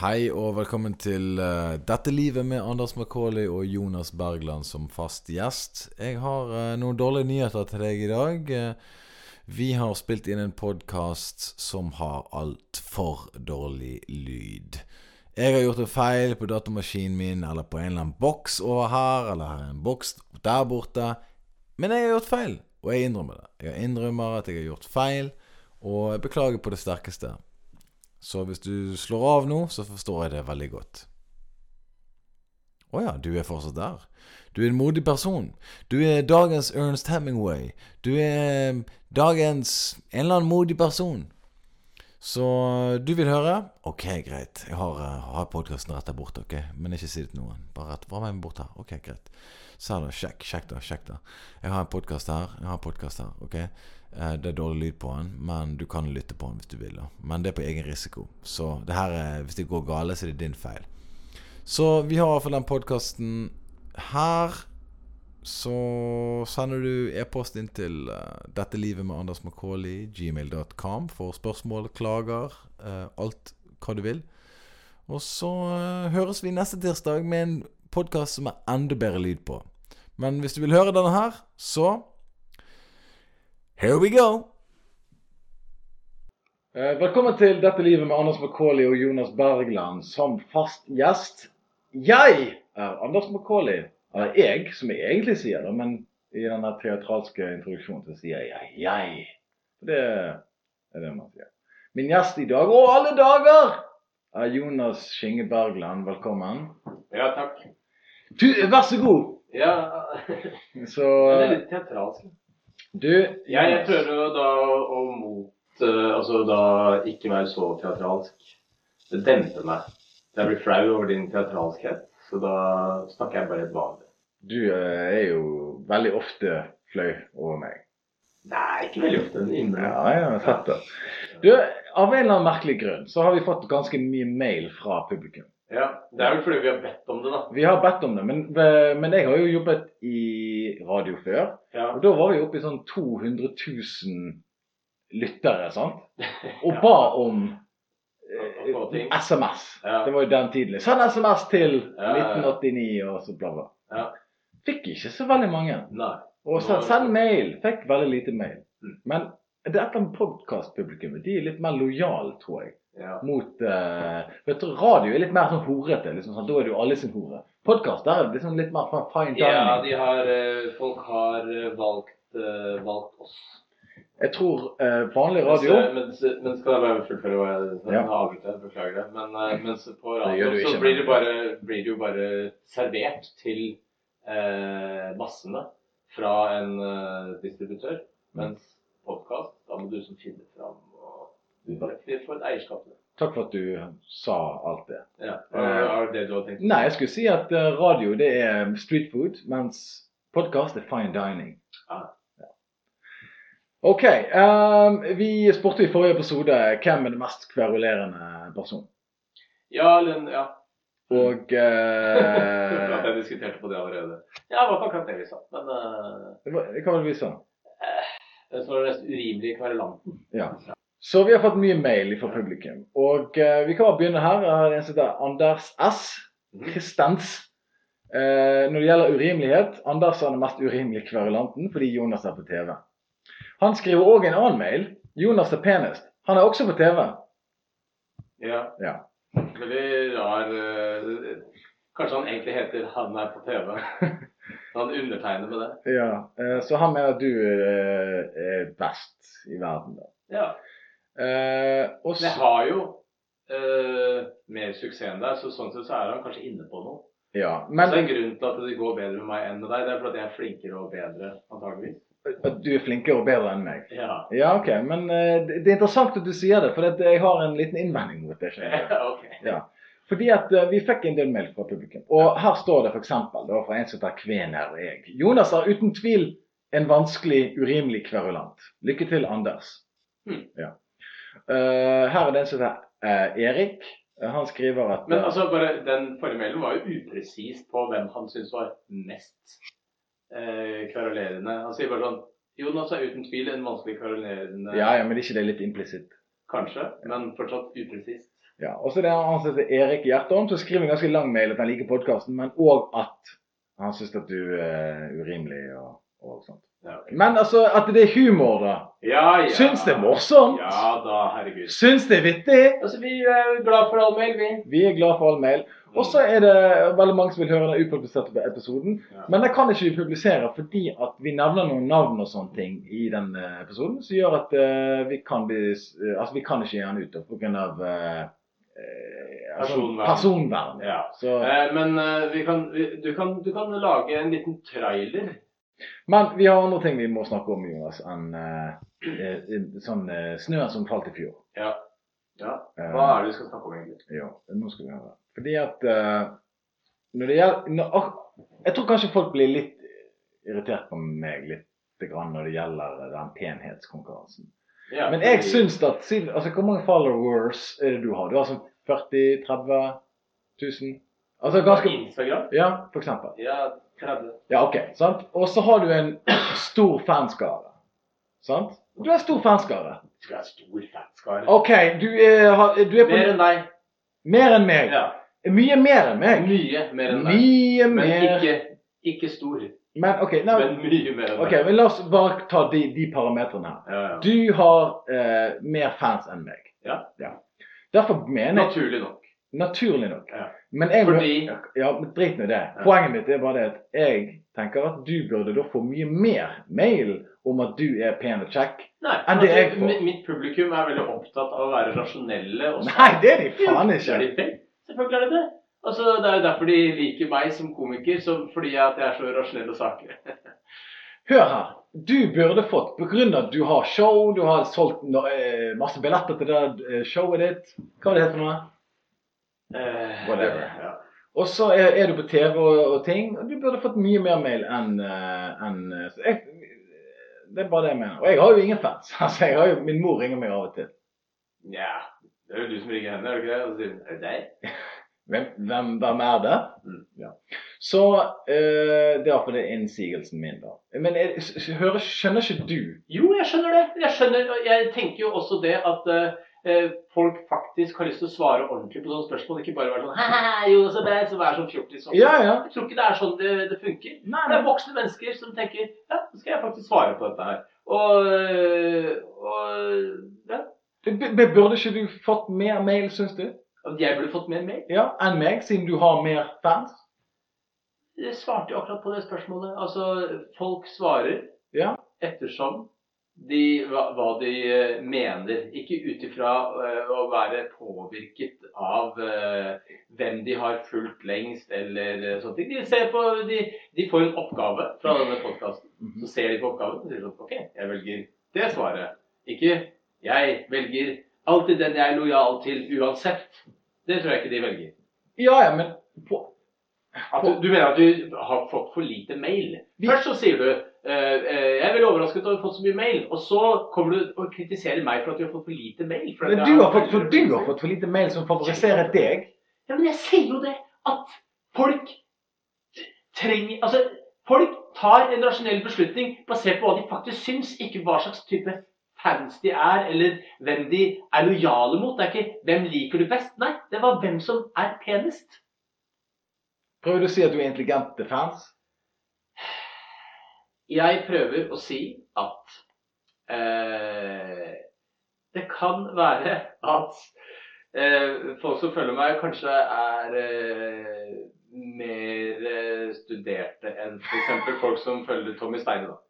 Hei og velkommen til eh, Dette livet med Anders Macauley og Jonas Bergland som fast gjest. Jeg har eh, noen dårlige nyheter til deg i dag. Eh, vi har spilt inn en podkast som har altfor dårlig lyd. Jeg har gjort en feil på datamaskinen min, eller på en eller annen boks over her, eller en boks der borte. Men jeg har gjort feil, og jeg innrømmer det. Jeg innrømmer at jeg har gjort feil, og jeg beklager på det sterkeste. Så hvis du slår av nå, så forstår jeg det veldig godt. Å ja, du er fortsatt der. Du er en modig person. Du er dagens Ernest Hemingway. Du er dagens en eller annen modig person. Så eh, du vil høre? Ok, greit. Jeg har, eh, har podkasten rett der borte, ok? Men ikke si det til noen. Bare rett fra meg bort her. Ok, greit. Se da, sjekk, sjekk da, sjekk da. Jeg har en podkast her, jeg har en podkast her, ok? Eh, Det er dårlig lyd på den, men du kan lytte på den hvis du vil. da. Men det er på egen risiko. Så det her er, hvis det går gale, så er det din feil. Så vi har i hvert fall den podkasten her. Så sender du e-post inn til eh, dette livet med Anders Macauley, gmail.com, for spørsmål, klager, eh, alt hva du vil. Og så eh, høres vi neste tirsdag med en podkast som er enda bedre lyd på. Men hvis du vil høre denne her, så Here we go! Eh, velkommen til Dette livet med Anders Macauley og Jonas Bergland som fast gjest. Jeg er Anders Macauley. Eller jeg, som jeg egentlig sier det, men i denne teatralske introduksjonen så sier jeg jeg. Det er det man sier. Min gjest i dag, og alle dager, er Jonas Skinge Bergland. Velkommen. Ja, takk. Du, vær så god! Ja, Så eh, det er litt teatralsk. du Jeg, jeg prøver jo da å mot eh, Altså da ikke være så teatralsk. Det demper meg. Jeg blir flau over din teatralskhet, så da snakker jeg bare helt vanlig. Du eh, er jo veldig ofte fløy over meg. Nei, ikke veldig ofte. men Innimellom. Ja, jeg har sett det. Du, av en eller annen merkelig grunn så har vi fått ganske mye mail fra publikum. Ja, det er vel fordi vi har bedt om det, da. Vi har bedt om det, men, eh, men jeg har jo jobbet i radio før. Ja. Og da var vi oppe i sånn 200 000 lyttere, sant? Og ba om Og- og få ting. eh, SMS. Ja. Det var jo den tiden. Send SMS til Ja, ja, ja. 1989 og så bla, bla. Ja. Fikk ikke så veldig mange. Nei. Og Nå så er det- send mail. Fikk veldig lite mail. Mm. Men det er et eller annet podkastpublikummet. De er litt mer lojale, tror jeg. Ja. Mot eh, vet du, Radio er litt mer sånn horete. Liksom, sånn, da er det jo alle sin hore. Podkast er det liksom litt mer fa- fine dining. ja, de har eh, Folk har eh, valgt, eh, valgt oss. Jeg tror eh, vanlig radio Mens, mens, eh, mens skal jeg bare fullføre hva jeg sa? Ja. Mm. Jeg avbryter deg, beklager det. Men eh, mens på Det gjør radio du så ikke, blir men- det, bare, blir det jo bare servert til eh, massene fra en eh, distributør. Mm. Mens podkast, da må du som finner fram og Du Mm. bare du får et eierskap til det. Takk for at du sa alt det. Ja. Er det det du har tenkt? Nei, jeg skulle si at eh, radio det er street food, mens podkast er fine dining. Ah. Ja. OK. eh, vi spurte i forrige episode hvem er den mest kverulerende personen. Ja, Linn. Ja. Og At eh, jeg diskuterte på det allerede. Ja, det var ikke akkurat det vi sa. Men eh, det var- Hva var det vi sa? så var det mest urimelige kverulanten. Ja. Så vi har fått mye mail fra publikum. Og eh, vi kan bare begynne her. Her er det en som heter Anders S. Kristens. Eh, når det gjelder urimelighet, Anders er den mest urimelige kverulanten fordi Jonas er på TV. Han skriver òg en annen mail. Jonas er penest. Han er også på TV. Ja. Ja. Veldig rar eh, Kanskje han egentlig heter 'Han er på TV'. Han undertegner med det. ja. eh, så han mener at du eh, er best i verden. da. Ja. Eh, og Men jeg så- har jo eh, mer suksess enn deg, så sånn sett så er han kanskje inne på noe. ja, Men men det er grunnen til at det går bedre med meg enn med deg. Det er fordi jeg er flinkere og bedre, antageligvis. at du er flinkere og bedre enn meg. Ja. Ja, ok, men eh, det det er interessant at du sier det, for at jeg har en liten innvending mot det. skjønner du. ok. Ja. Fordi at eh, vi fikk en del mail fra publikum, og her står det f.eks. fra en som heter Kvener og jeg. Jonas er uten tvil en vanskelig, urimelig kverulant. Lykke til, Anders. Hmm. Ja. Eh, her er det en som heter eh, Erik. Eh, Han skriver at Men eh, altså, bare den forrige mailen var jo upresis på hvem han syntes var mest eh, kverulerende. Han sier bare sånn Jonas er uten tvil en vanskelig kverulerende Ja, ja, men er ikke det litt implisitt? Kanskje, men fortsatt upresist. Ja, og så er det Han som heter Erik Hjertholm, som skriver en ganske lang mail at han liker podkasten, men òg at han syns at du er urimelig og, og sånt. Ja, ok. Men altså, at det er humor, da. ja, ja. Syns det er morsomt. Ja da, herregud. Syns det er vittig. Altså, Vi er glad for all mail, vi. Vi er glad for all mail. Og så er det veldig mange som vil høre den upubliserte episoden. Ja. Men den kan ikke vi publisere fordi at vi nevner noen navn og sånne ting i den eh, episoden, som gjør at eh, vi, kan bli, s- eh, altså, vi kan ikke gi den ut da, på grunn av eh, eh, altså, Personvern. personvern. Ja. Så, Eh, Men eh, vi kan, vi, du, kan, du kan lage en liten trailer. men vi har andre ting vi må snakke om, Jonas, enn eh, eh, sånn eh, snøen som falt i fjor. Ja. ja. Eh, Hva er det vi skal snakke om, egentlig? Ja, nå skal vi høre. Fordi at eh, når det gjelder når, ak- Jeg tror kanskje folk blir litt irritert på meg litt grann når det gjelder den penhetskonkurransen. Ja, Men jeg fordi- syns at siden, altså, Hvor mange followers er det du har? Du har sånn 40 30 000? Altså På ganske Instagram? Ja, for eksempel. Ja, 30. Ja, OK. sant? Og så har du en stor fanskare. Sant? Du er stor fanskare. Du er stor fanskare. OK, du er, har- du er på Mer enn deg. Mer enn meg. Ja. Mye mer enn meg. Mye mer enn deg. Mye Men mer ikke, ikke stor. Men ok, nei, Men mye mer enn ok, deg. men la oss bare ta de, de parametrene her. Ja, ja. Du har eh, mer fans enn meg. Ja. Derfor mener jeg Naturlig nok. Naturlig nok. Ja. Men jeg Fordi- Ja, men drit nå i det. Ja. Poenget mitt er bare det at jeg tenker at du burde da få mye mer mail om at du er pen og kjekk. Nei, Enn det jeg altså, får. mi- Mitt publikum er veldig opptatt av å være rasjonelle. Og Nei, det er de faen Det ikke! er de vel. Selvfølgelig er det det. Altså, det er jo derfor de liker meg som komiker, som, fordi at jeg er så rasjonell og saklig. Hør her. Du burde fått, på grunn av at du har show, du har solgt no, eh, masse billetter til det eh, showet ditt Hva var det heter nå? Eh, Whatever. Ja. Og så er, er du på TV og, og ting, og du burde fått mye mer mail enn eh, enn, eh, så jeg, Det er bare det jeg mener. Og jeg har jo ingen fans. altså jeg har jo, Min mor ringer meg av og til. Nja, det er jo du som ringer henne, er det ikke det? Og så sier hun er det deg? Hvem, hvem, hvem er det? Mm. Ja. Så eh, det er iallfall det innsigelsen min, da. Men jeg, s- s- hører, skjønner ikke du Jo, jeg skjønner det. Jeg skjønner, og jeg tenker jo også det at eh, eh, folk faktisk har lyst til å svare ordentlig på sånne spørsmål, ikke bare være sånn «Haha, Jonas er deg, som er sånn fjortis. Ja, ja. Jeg tror ikke det er sånn det, det funker. Nei, Det er voksne mennesker som tenker ja, nå skal jeg faktisk svare på dette her. Og, øh, og ja. men b- b- Burde ikke du fått mer mail, syns du? At jeg burde fått mer mail. Ja, Enn meg, siden du har mer fans? Jeg svarte jo akkurat på det spørsmålet. Altså, folk svarer Ja. ettersom de, hva, hva de eh, mener. Ikke ut ifra eh, å være påvirket av eh, hvem de har fulgt lengst, eller eh, sånne ting. De, ser på, de, de får en oppgave fra denne podkasten. Så Mhm. ser de på oppgaven og sier sånn OK, jeg velger det svaret. Ikke 'jeg velger alltid den jeg er lojal til uansett'. Det tror jeg ikke de velger. Ja, ja, men på, At du, du mener at du har fått for lite mail. Vi- Først så sier du eh, eh, 'jeg er veldig overrasket over å ha fått så mye mail', og så kommer du og kritiserer meg for at du har fått for lite mail. for at men jeg du har fått for, du har fått for lite mail som favoriserer deg. Ja, men jeg sier jo det at folk t- trenger Altså, folk tar en rasjonell beslutning basert på hva de faktisk syns, ikke hva slags type fans de er, eller hvem de er lojale mot. Det er ikke 'hvem liker du best'. Nei, det var hvem som er penest. Prøver du å si at du er intelligente fans? Jeg prøver å si at eh, det kan være at eh, folk som følger meg, kanskje er eh, mer eh, studerte enn f.eks. folk som følger Tommy Steine. da.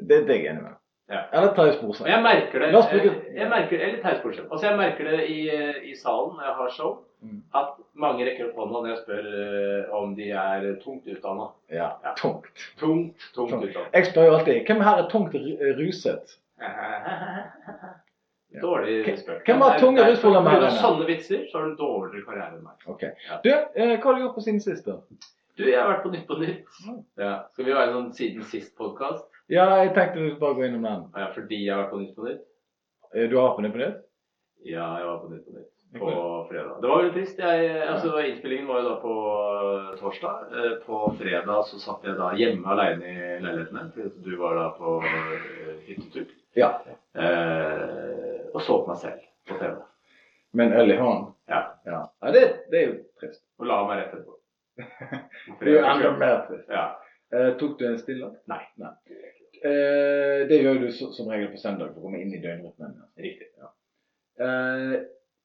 Det er deg enig med. Ja. Eller tar jeg Og sporsnakk? jeg merker det La oss bruke- eh, jeg merker, Eller Tausborgsen. Altså, jeg merker det i, eh, i salen når jeg har show, Mm. at mange rekker opp hånda når jeg spør eh, om de er tungt utdanna. Ja. Ja. Tungt. liksom. Tungt, tungt Tungt. utdanna. Jeg spør jo alltid hvem her er tungt ru- ruset? Dårlig Hvem- spøk. hvem har tunge rusproblemer her Pga. inne? sånne vitser så har du dårligere karriere enn meg. Ok. Du, eh, hva har du gjort på siden sist, da? Du, jeg har vært på Nytt på Nytt. Mm. Ja. Skal vi være en sånn siden sist-podkast? Ja, jeg tenkte vi bare gå innom den. Ja, fordi jeg har vært på Nytt på Nytt? Eh, Du har på nytt på nytt? Ja, jeg var på Nytt på Nytt Det er på fredag. Det var veldig trist. Jeg, altså, Innspillingen var jo da på øh, torsdag. Eh, På fredag så satt jeg da hjemme aleine i leiligheten min, fordi at du var da på øh, hyttetur. Ja. Eh, og så på meg selv på TV. med en øl i hånden. Ja. Ja, ja det, det er jo trist. Og la meg rett etterpå. Det er jo enda mer trist. Ja. Eh, tok du en stille? Nei. Nei. Eh, det gjør du så, som regel på søndag for å komme inn i døgnrytmen. Riktig. Eh,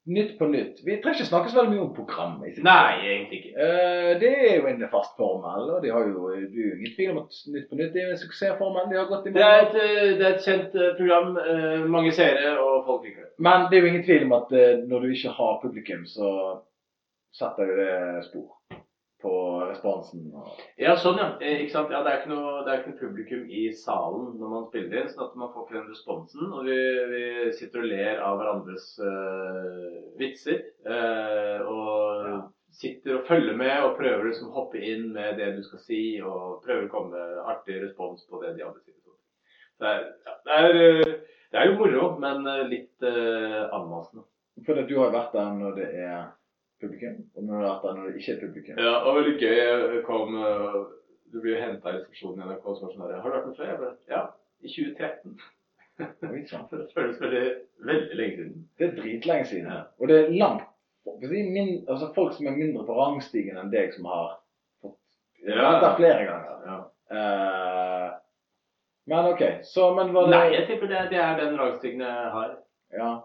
nytt på nytt. Vi trenger ikke snakke så veldig mye om program. i sin- Nei, egentlig ikke. Eh, det er jo en fast formel, og de har jo, det er jo ingen tvil om at Nytt på nytt er jo en suksessformel. De har gått i Det er mål. et, eh, det er et kjent eh, program. eh, Mange seere og folk liker det. Men det er jo ingen tvil om at eh, når du ikke har publikum, så setter jo det spor på responsen. Og, Ja, sånn, ja. Eh, Ikke sant? ja det, er ikke noe, det er ikke noe publikum i salen når man spiller inn, sånn at man får ikke den responsen. Og vi, vi sitter og ler av hverandres eh, vitser. eh, og sitter og følger med og prøver å liksom hoppe inn med det du skal si, og prøver å komme med artig respons på det de andre sier. Det er, ja, det er, eh, det er jo moro, men eh, litt eh, anmasende. for at du har jo vært der når det er publikum, og når du har vært der når det ikke er publikum. Ja, og veldig gøy jeg kom eh, Du blir jo henta i resepsjonen i NRK og så var det sånn der, Har du vært med før? Jeg ble, ja. I 2013. Oi, sant. Det føles veldig, veldig lenge siden. Det er dritlenge siden. Ja. Og det er langt for å si min, altså Folk som er mindre på rangstigen enn deg, som har vært der flere ganger. Ja. Eh, men OK. Så, men var det Nei, jeg tipper det, det er den rangstigen jeg har. Ja.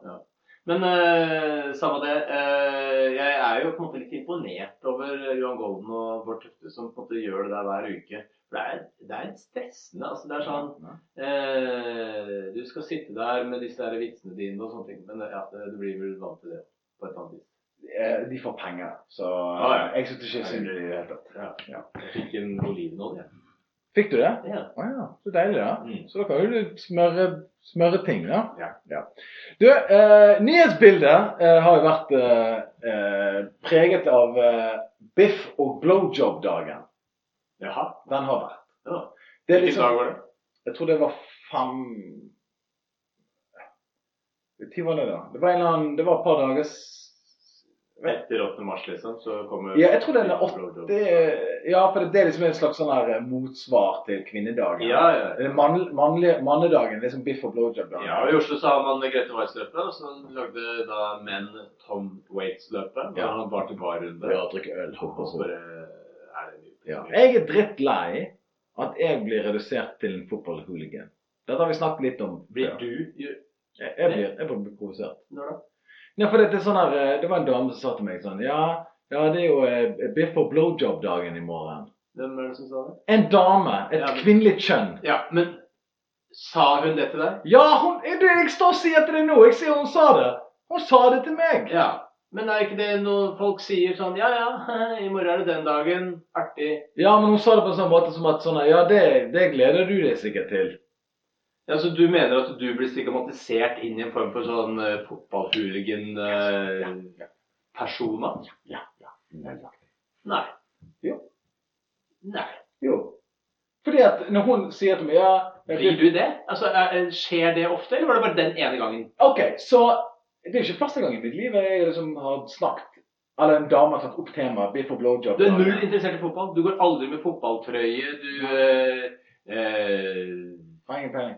Men eh, samme det. eh, jeg er jo på en måte litt imponert over Johan Golden og Bård Tufte som på en måte gjør det der hver uke. For det er, det er stressende. altså Det er sånn eh, Du skal sitte der med disse der vitsene dine og sånne ting, men ja, du blir vel vant til det på et annet vis. Eh, De får penger, så Ah, ja. jeg syns ikke synd i det hele tatt. Ja. Ja. Jeg fikk en olivenolje. Fikk du det? Ja. Å ja. Så deilig, da. Mm. Så da kan jo du smøre, smøre ting, da. Ja. Du, eh, nyhetsbildet eh, har jo vært eh, eh, preget av eh, biff og blowjob-dagen. Jaha. Den har vært. Ja. Det er Hvilken liksom- dag var det? Jeg tror det var fem Når var det, da? Det var, en eller annen, det var et par dager s- Etter 8. mars, liksom, så kommer Ja, jeg tror det er den åtte Ja, for det, det er liksom en slags sånn her eh, motsvar til kvinnedagen. Ja, ja. Eller mann- mannlige- mannedagen. Liksom biff og blowjob-dagen. ja, og I Oslo så har man Grete Weiss-løpet, og så lagde da menn Tom Waits-løpet. Da Ja. har han bar til bar-runde. Ja, drikke øl. ho, ho, Og så ho. bare er det mye. Ja. Jeg er drittlei at jeg blir redusert til en fotballhooligan. Dette har vi snakket litt om. Blir før. du gjør- Jeg, jeg, blir, jeg blir provosert. når da? Nei, for det, det, er sånn her, eh, det var en dame som sa til meg sånn Ja, ja det er jo eh, biff og blowjob-dagen i morgen. Hvem er det som sa det? En dame. Et Ja, men- kvinnelig kjønn. Ja, men sa hun det til deg? Ja, hun, er det jeg står og sier til deg nå. Jeg ser hun sa det. Hun sa det til meg. Ja. Men er ikke det noe folk sier sånn Ja ja, i morgen er det den dagen. Artig. Ja, men hun sa det på en sånn måte som at sånn her, Ja, det, det gleder du deg sikkert til. Ja, Så du mener at du blir stigmatisert inn i en form for sånn eh, uh, fotballhooligan-persona? Ja, ja. Nøyaktig. Nei. Jo. Nei. Jo. Fordi at når hun sier til meg Ja, jeg Blir du det? Altså, er- er- Skjer det ofte, eller var det bare den ene gangen? OK, så Det er jo ikke første gang i mitt liv jeg liksom har snakket Eller en dame har tatt opp temaet biff og blowjob. Du er null interessert i fotball. Du går aldri med fotballtrøye. Du eh, eh, Poeng, poeng.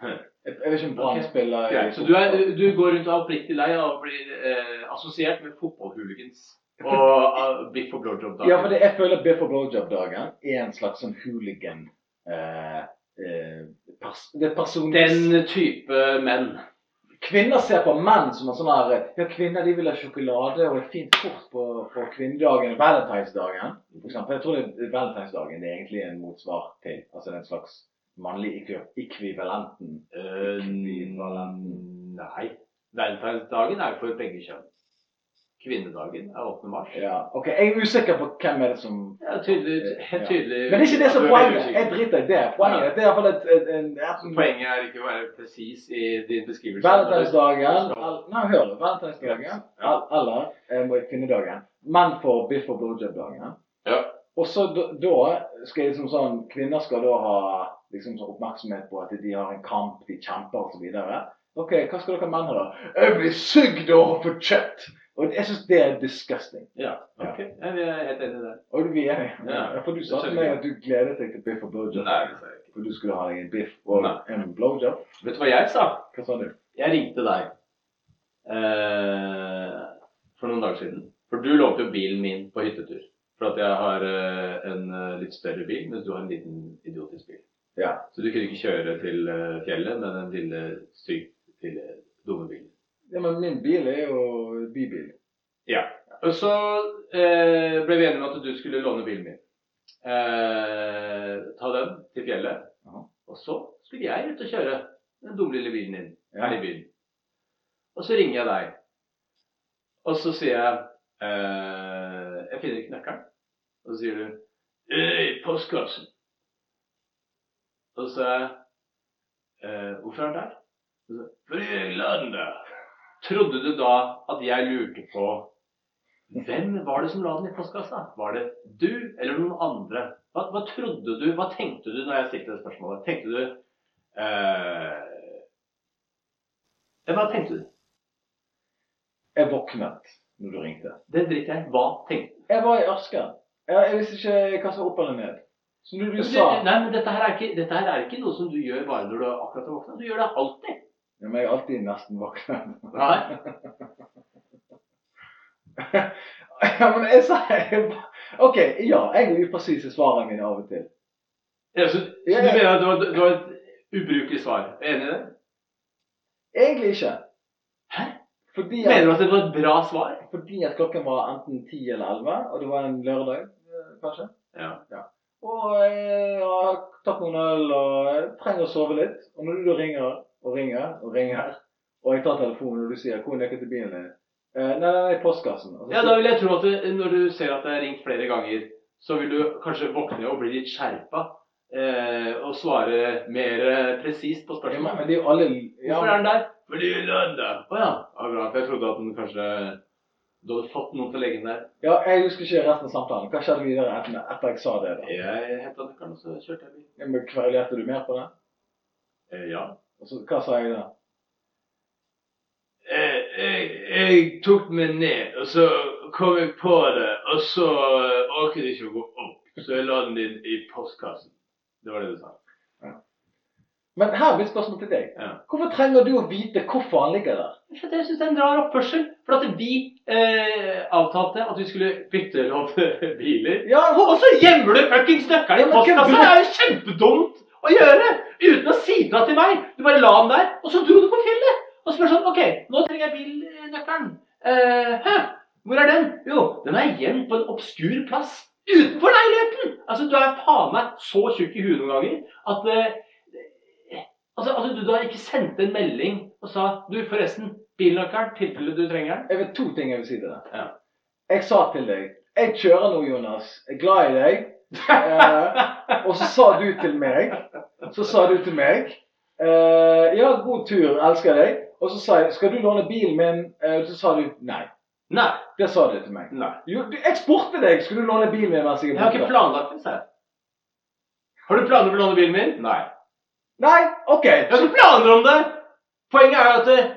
Hæ. Jeg jeg vet ikke om Brann Ok. spiller i Greit. Så du, er, du går rundt og er oppriktig lei av å bli eh, assosiert med fotballhooligans og ah, biff og blowjob. Ja, for det, jeg føler Biff og blowjob-dagen er en slags sånn hooligan eh, eh, pers Det er personlig Den type menn. Kvinner ser på menn som en sånn her Ja, kvinner de vil ha sjokolade og et fint kort på, på kvinnedagen. Valentinsdagen, for eksempel. Jeg tror det er valentinsdagen det er egentlig en motsvar til. Altså den slags mannlig ikvi- ekvivalenten. Eh, nei. Valentinsdagen er jo for begge kjønn. Kvinnedagen er 8. mars. Ja, ok, Jeg er usikker på hvem er det som Ja, tydelig, helt tydelig. Men det er ikke det som er Du er veldig poenget. usikker. Jeg driter i det. Poenget er at det er iallfall et, et, en, Så et Poenget er ikke å være presis i din beskrivelse. Valentinsdagen el- Nei, hør nå. Valentinsdagen Ja. el- eller eh, må jeg finne dagen. Menn får biff og blowjob-dagen. Ja. Og så da da skal liksom sånn Kvinner skal da ha liksom sånn oppmerksomhet på at de har en kamp, de kjemper osv. OK, hva skal dere menn ha, da? Jeg blir sugd og for kjøtt! Og jeg syns det er disgusting. Ja, ok. Ja, vi er helt enige der. Og vi er enige? Ja. For du sa til meg at du gledet deg til biff og blowjob. sa jeg ikke. For du skulle ha deg en biff og Nei. en blowjob? Vet du hva jeg sa? Hva sa du? Jeg ringte deg. eh, for noen dager siden. For du lånte jo bilen min på hyttetur. For at jeg har eh, en eh, litt større bil, mens du har en liten idiotisk bil. Ja. Så du kunne ikke kjøre til eh, fjellet med den lille, sykt lille, dumme bilen. ja, men min bil er jo bybil. Ja. Og så eh, ble vi enige om at du skulle låne bilen min. Eh, ta den til fjellet. Aha. Og så skulle jeg ut og kjøre den dumme lille bilen din Ja. her i byen. Og så ringer jeg deg. Og så sier jeg eh, Jeg finner ikke nøkkelen. Og så sier du Øy, postkassen. Og så sa jeg eh, Hvorfor er den der? Og så, Fordi jeg la den der. Trodde du da at jeg lurte på hvem var det som la den i postkassa? Var det du eller noen andre? Hva, hva trodde du, hva tenkte du når jeg stilte det spørsmålet? Tenkte du eh, ja, Hva tenkte du? Jeg våknet når du ringte. Det driter jeg i. Hva tenkte du? Jeg var i Asker. Jeg, jeg visste ikke hva som var opp eller ned. Så når du sa Nei, men dette her, er ikke, dette her er ikke noe som du gjør bare når du akkurat har våkna. Du gjør det alltid. ja, Men jeg er alltid nesten våken. Nei. ja, men jeg sa jeg, ba- OK, ja. Jeg er upresis i svarene mine av og til. Ja, så, så du mener at det var, det var et ubrukelig svar? Er du Enig i det? Egentlig ikke. Hæ? Fordi at, Mener du at det var et bra svar? fordi at klokken var enten ti eller elleve, og det var en lørdag, eh, kanskje. Ja. Og jeg har tatt noen øl og jeg trenger å sove litt. Og når du da ringer og ringer og ringer, og jeg tar telefonen og du sier 'Hvor er nøkkelen til bilen din?' Eh, nei, nei, nei, postkassen. Og så Ja, da vil jeg tro at det, når du ser at det er ringt flere ganger, så vil du kanskje våkne og bli litt skjerpa eh, og svare mer eh, presist på sier- ja, men, spørsmålet. men det er jo alle ja, Hvorfor er den der? Fordi det er lørdag. Å ja. ja. Bra, for jeg trodde at den kanskje Du hadde fått noen til å legge den der. ja, jeg husker ikke resten av samtalen. Hva skjedde videre etter, etter jeg sa det? da? Jeg henta nøkkelen, og så kjørte jeg bil. Ja, men Kverulerte du mer på det? Eh, ja. Og så, hva sa jeg da? Eh, jeg, jeg tok meg ned, og så kom jeg på det, og så eh, orket jeg ikke å gå opp. Så jeg la den inn i postkassen. Det var det du sa. Men her blir spørsmålet til deg. Ja. Hvorfor trenger du å vite hvorfor han ligger der? For jeg synes det er en rar oppførsel. For at vi eh, avtalte at vi skulle bytte lånte biler. Ja, Og så gjemmer du fuckings Ja, nøkkelen i men kødder du? postkassa! Det er jo kjempedumt å gjøre! Uten å si det til meg. Du bare la den der, og så dro du på fjellet. Og så spør sånn OK, nå trenger jeg bilnøkkelen. Eh, hæ? Hvor er den? Jo, den er gjemt på en obskur plass utenfor leiligheten! Altså, du er faen meg så tjukk i huet noen ganger at eh, Altså, altså du, du har ikke sendt en melding og sa Du, forresten, bilnøkkelen, tilfelle du trenger den. Jeg vet to ting jeg vil si til deg. Ja. Jeg sa til deg Jeg kjører nå, Jonas. Jeg er glad i deg. Eh, og så sa du til meg Så sa du til meg eh, Ja, god tur. Elsker deg. Og så sa jeg Skal du låne bilen min? Eh, så sa du nei. Nei. Det sa du til meg. nei. Jo, du- jeg spurte deg Skulle du låne bilen min mens jeg Jeg er har ikke borte. planlagt det, sa jeg. Har du planer om å låne bilen min? Nei. Nei, OK. Jeg har ikke planer om det! Poenget er at eh,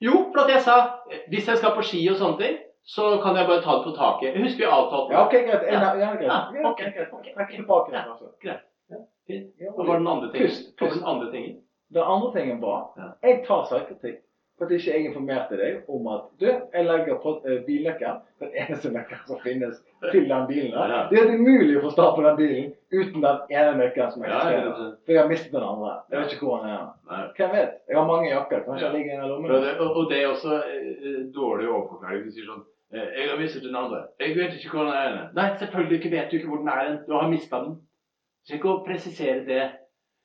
Jo, for at jeg sa eh, hvis jeg skal på ski og sånne ting, så kan jeg bare ta det på taket. Jeg husker vi avtalte det. Ja, OK, greit. Jeg, ja, Ja. greit. Ja, Ja, ok, greit. ok, Trekk tilbake. ja, altså. greit. Ja, fint. Ja, Hva var den andre tingen? Pust, Hva var pust. den andre tingen? Den andre tingen var Jeg tar selvkritikk for at ikke jeg informerte deg om at du, jeg legger på eh, bilnøkkelen, den eneste nøkkelen som finnes til den bilen. der. Ja. Det er helt umulig å få start på den bilen uten den ene nøkkelen som Ja, ja, eksisterer. ja. For jeg har mistet den andre. Jeg vet ikke hvor den er. Nei. Hvem vet? Jeg har mange jakker. Kanskje Ja. jeg ligger i en av Og lommene. det, og og det er også eh, dårlig overforklaring. Du sier sånn eh, 'Jeg har mistet den andre.' 'Jeg vet ikke hvor den er.' hen.» Nei, selvfølgelig ikke vet du ikke hvor den er. hen. Du har mista den. Du trenger ikke å presisere det.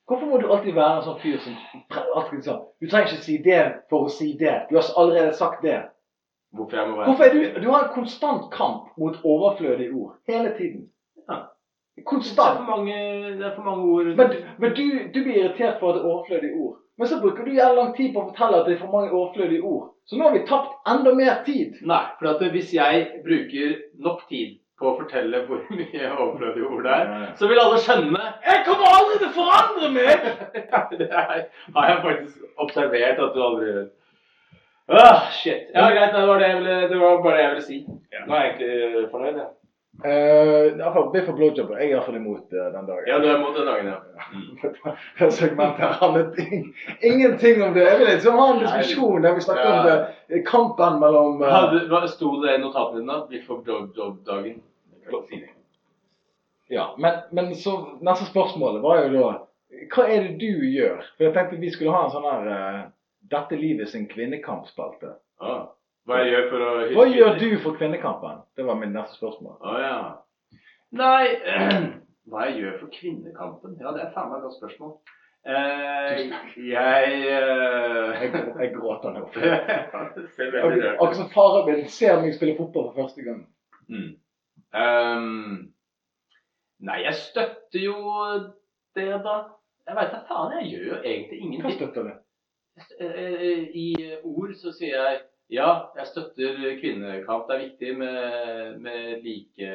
Hvorfor må du alltid være en sånn fyr som pre- alltid sånn Du trenger ikke si det for å si det. Du har allerede sagt det. Hvorfor jeg må være Hvorfor er du Du har en konstant kamp mot overflødige ord. Hele tiden. Ja. Det er Konstant. for mange, det er for mange ord. Men, men du, du blir irritert for at det er overflødige ord. Men så bruker du jævlig lang tid på å fortelle at det er for mange overflødige ord. Så nå har vi tapt enda mer tid. Nei, for at hvis jeg bruker nok tid på å fortelle hvor mye overflødige ord det er, så vil alle skjønne Jeg kommer aldri til å forandre meg! Det er- har jeg faktisk observert at du aldri gjør. Ah, shit. Ja, greit. Det var, det, jeg ville, det var bare det jeg ville si. Nå er jeg egentlig fornøyd, jeg. Eh, i hvert fall Biff og blowjobber. Jeg er i hvert fall imot eh, den dagen. Ja, du er imot den dagen, ja. Segmentet handlet ing- ingenting om det. Jeg vil liksom ha en Nei. diskusjon der vi snakker om Ja. det, kampen mellom eh, Hadde, hva sto det i notatene dine da? Biff og blowjob-dagen? Ja, men, men så neste spørsmålet var jo da Hva er det du gjør? For jeg tenkte vi skulle ha en sånn her eh, Dette livet sin kvinnekampspalte. Ah. Hva jeg gjør for å Hva gjør du for kvinnekampen? Det var mitt neste spørsmål. Å ja. Nei Hva jeg gjør for kvinnekampen? Ja, det er faen meg et godt spørgsmål. Eh, jeg eh, Jeg, jeg gråter nå. Ja, det ser veldig rart ut. Akkurat som faren min ser meg spille fotball for første gang. Mm. Ehm, nei, jeg støtter jo det, da. Jeg veit da faen. Jeg gjør jo egentlig Hva ingenting. støtter du? Eh, eh, I ord så sier jeg ja, jeg støtter kvinnekamp. Det er viktig med, med like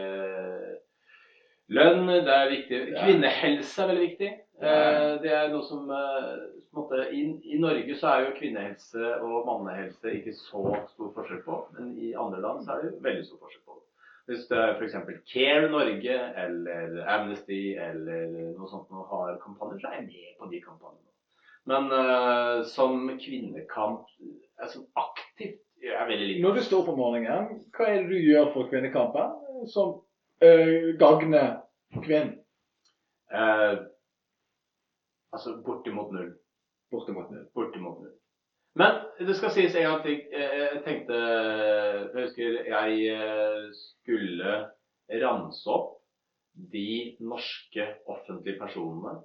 lønn. Det er viktig. Ja. Kvinnehelse er veldig viktig. Ja. Eh, Det er noe som eh, på en måte, i, I Norge så er jo kvinnehelse og mannehelse ikke så stor forskjell på, men i andre land så er det veldig stor forskjell på det. Hvis det er f.eks. Care Norge eller Amnesty eller noe sånt noe har kampanjer, så er jeg med på de kampanjene. Men eh, som kvinnekamp eh, som aktivt jeg er veldig liten. Når du står opp om morgenen, hva er det du gjør for kvinnekampen som øh, gagner kvinnen? Eh, altså bortimot null. Bortimot null. Bortimot null. Men det skal sies en gang til. eh, Jeg tenkte Jeg husker jeg eh, skulle ramse opp de norske offentlige personene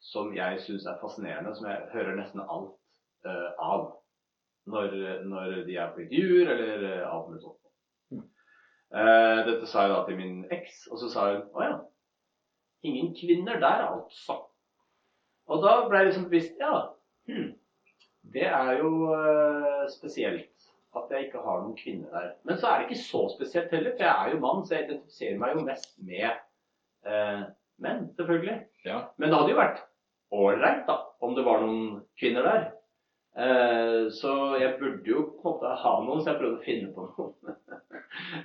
som jeg syns er fascinerende, som jeg hører nesten alt eh, av når, når de er på intervjuer eller eh, alt mulig sånt. Mm. Eh, dette sa jeg da til min eks, og så sa hun å ja, ingen kvinner der, altså. Og da ble jeg liksom bevisst ja, hm, det er jo eh, spesielt at jeg ikke har noen kvinner der. Men så er det ikke så spesielt heller, for jeg er jo mann, så jeg identifiserer meg jo mest med eh, menn, selvfølgelig. Ja. Men det hadde jo vært ålreit da, om det var noen kvinner der. Eh, så jeg burde jo på en måte ha noen, så jeg prøvde å finne på noen.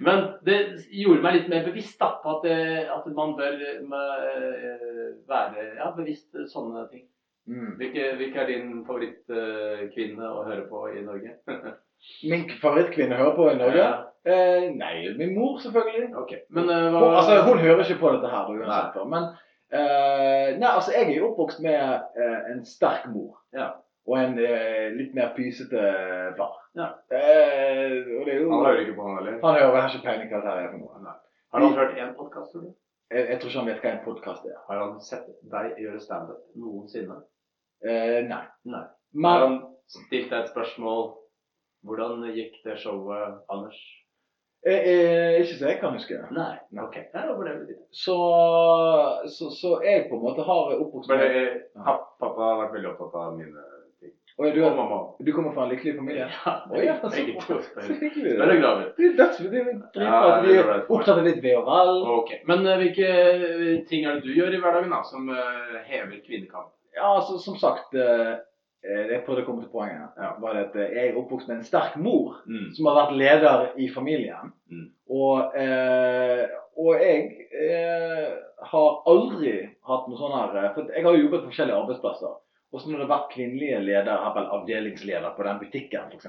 Men det gjorde meg litt mer bevisst da, på at, eh, at man bør eh, eh, være ja, bevisst sånne ting. Mm. Hvilke, hvilke er din favorittkvinne å høre på i Norge? Min favorittkvinne hører på i Norge? Ja, Eh, nei, min mor selvfølgelig. ok. Men eh, hva Hun, altså, hun hører ikke på dette her, da, uansett. Nei. da. Men eh, nei, altså, jeg er jo oppvokst med eh, en sterk mor. Ja. Og en eh, litt mer pysete far. Ja. Eh, og det er jo, Han hører ikke på han heller. Han hører, jeg har ikke peiling på hva dette er for noe. Har han hørt én podkast, tror du? Jeg, jeg tror ikke han vet hva en podkast er. Har han sett deg gjøre standup noensinne? Eh, nei. Nei. Har Men han stilt deg et spørsmål Hvordan gikk det showet, Anders? eh, eh, ikke så jeg kan huske. Nei. Nei. Ok. Ja, da ble det litt- Så, så, så jeg på en måte har oppvokst Men med eh, papp- pappa har vært veldig opptatt av mine ting. Og du, Og mamma. du kommer fra en lykkelig familie? Å ja, så, begge to. så hyggelig. Det er jeg glad for. Det er dødsfint. Det er dritbra Ja, at det vi er er bra. opptatt av litt ve og vel. Ok, Men eh, hvilke ting er det du gjør i hverdagen da, som eh, hever kvinnekamp? Ja, altså, som sagt eh, eh, Jeg prøvde å komme til poenget. Ja. Var det at eh, jeg er oppvokst med en sterk mor som har vært leder i familien. Mm. Og, eh, og jeg eh, har aldri hatt noe sånn her eh, For jeg har jo jobbet på forskjellige arbeidsplasser. Og så når det har vært kvinnelige ledere, her vel avdelingsleder på den butikken f.eks.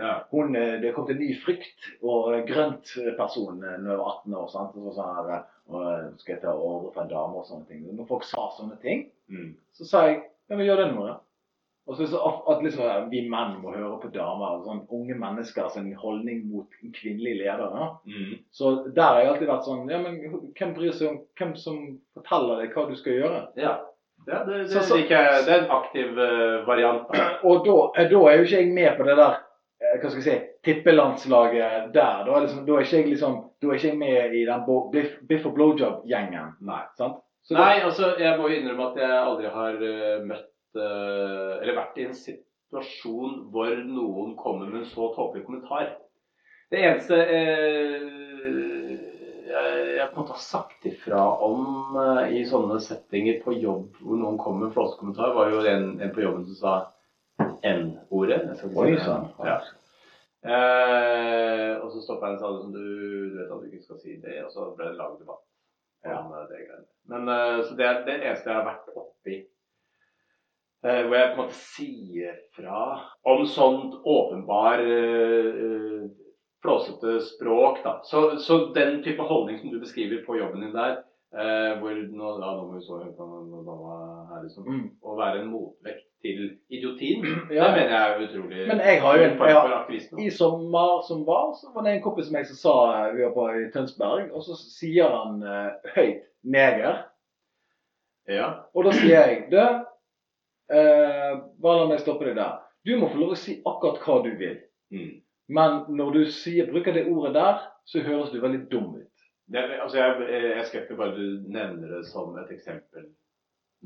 Ja. hun, eh, det kom til en ny frykt og grønt person eh, når jeg var 18 år. Sant? Og så sånn her, eh, «Å, skal jeg ta ordre fra en dame og sånne ting. Når folk sa sånne ting, Mm. så sa jeg ja, men gjør det nå, da. Og så, så at- at liksom, eh, vi menn må høre på damer. og Sånn, unge mennesker sin holdning mot en kvinnelig leder. Da. Mm. Så der har jeg alltid vært sånn ja, men Hvem bryr seg om hvem som forteller deg hva du skal gjøre? Ja. ja det, det, Så- så- liker jeg. det er en aktiv eh, variant. da. Og da, eh, da er jo ikke jeg med på det der eh, hva skal jeg si, tippelandslaget der. Da er, liksom, da er, ikke, jeg liksom, da er ikke jeg med i den bo- biff, biff og blowjob-gjengen. Nei. sant? Så da- Nei, altså, jeg må jo innrømme at jeg aldri har eh, møtt eh, Eller vært i en situasjon hvor noen kommer med en så tåpelig kommentar. Det eneste eh, jeg, jeg på en måte har sagt ifra om eh, i sånne settinger på jobb hvor noen kommer med en flåsekommentar, var jo en, en på jobben som sa N-ordet. Jeg skal ikke Oi, sånn. si det. sann. Ja. Eh, og så stoppa jeg en sade som du, du vet at du ikke skal si det, og så ble det lang debatt om eh, det greiene. Men eh, så det er det eneste jeg har vært oppi. Eh, hvor jeg på en måte sier fra om sånt åpenbar eh, eh, flåsete språk, da. Så, så den type holdning som du beskriver på jobben din der, eh, hvor nå, ja, nå må vi så høyt på denne dama her, liksom. Mm. Å være en motvekt til idiotien, Ja. det mener jeg er utrolig Men jeg har jo en- en form jeg har- for aktivisme. I sommer som var, så var det en kompis som jeg som sa eh, vi var på i Tønsberg, og så sier han eh, høyt 'neger'. Ja. Og da sier jeg Du, eh, bare la meg stoppe deg der. Du må få lov å si akkurat hva du vil. Mm. Men når du sier, bruker det ordet der, så høres du veldig dum ut. Det, altså jeg, jeg skal ikke bare du nevner det som et eksempel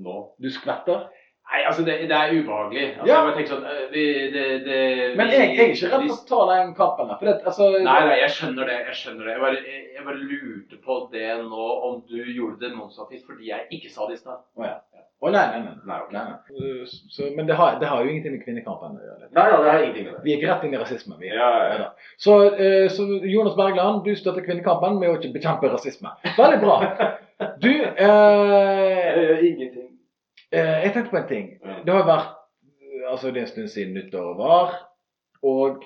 nå. Du skvetter. Nei, altså det, det er ubehagelig. Altså Ja. Jeg bare tenker sånn øh, vi, det, det, Men vi- jeg, jeg er ikke redd for å vi- ta den kampen der. For det, altså, Nei, nei, jeg skjønner det. Jeg skjønner det. Jeg bare, jeg, jeg bare lurte på det nå, om du gjorde det motsatt fordi jeg ikke sa det i stad. Å, nei, nei, nei. Nei, nei, nei. Uh, Så, men det har, det har jo ingenting med kvinnekampen å gjøre. nei, det har ingenting med Vi gikk rett inn i rasisme. Vi. Ja, ja, ja. da. Så, eh, så Jonas Bergland, du støtter kvinnekampen med å ikke bekjempe rasisme. Veldig bra. Du, eh, Jeg gjør ingenting. eh, jeg tenkte på en ting. Ja. Det har vært eh, altså det er en stund siden nyttår var, og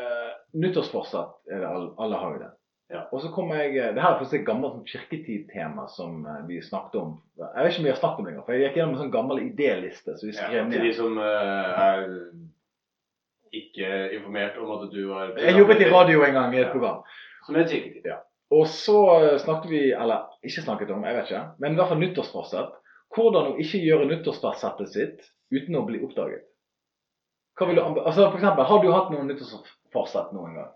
eh, nyttårsforsett er det alle, alle har jo det. Ja. Og så kommer jeg, eh, Det her er faktisk et gammelt sånn kirketidtema som eh, vi snakket om. Jeg vet ikke om vi har snakket om det engang, for jeg gikk gjennom en sånn gammel idéliste. som vi Ja, skrev til de ned. som øh, er ikke informert om at du var Jeg jobbet i radio en gang i et Ja. program. Som er sikkert. Og så eh, snakket vi, eller ikke snakket om, jeg vet ikke, men i hvert fall nyttårsforsett. Hvordan å ikke gjøre nyttårsforsettet sitt uten å bli oppdaget. Hva vil du anbe- altså for eksempel, Har du hatt noen nyttårsforsett noen gang?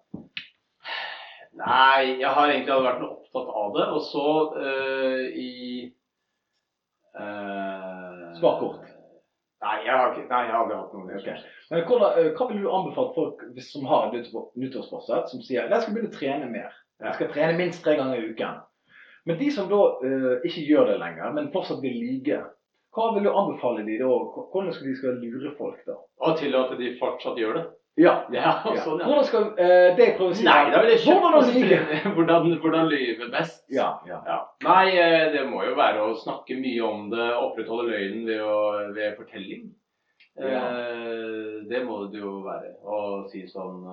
Nei, jeg har egentlig aldri vært noe opptatt av det. Og så øh, i øh, Svar kort. Nei, jeg har ikke, nei, jeg har aldri hatt noen Ok. Men hvordan, eh, hva ville du anbefalt folk hvis- som har et nyttårs- nyttårsforsett, som sier jeg skal begynne å trene mer? Jeg skal trene minst tre ganger i uken. Men de som da eh, ikke gjør det lenger, men fortsatt vil like, hva vil du anbefale de da? Hvordan skal de skal lure folk da? Og til at de fortsatt gjør det. Ja, Ja, Ja. sånn, ja. Hvordan skal eh, det jeg prøver å si Nei, da vil jeg ikke Hvordan å lyve? hvordan, hvordan lyve best. Ja, ja. Ja. Nei, eh, det må jo være å snakke mye om det, opprettholde løgnen ved, å, ved fortelling. Ja. Eh, det må det jo være. Å si sånn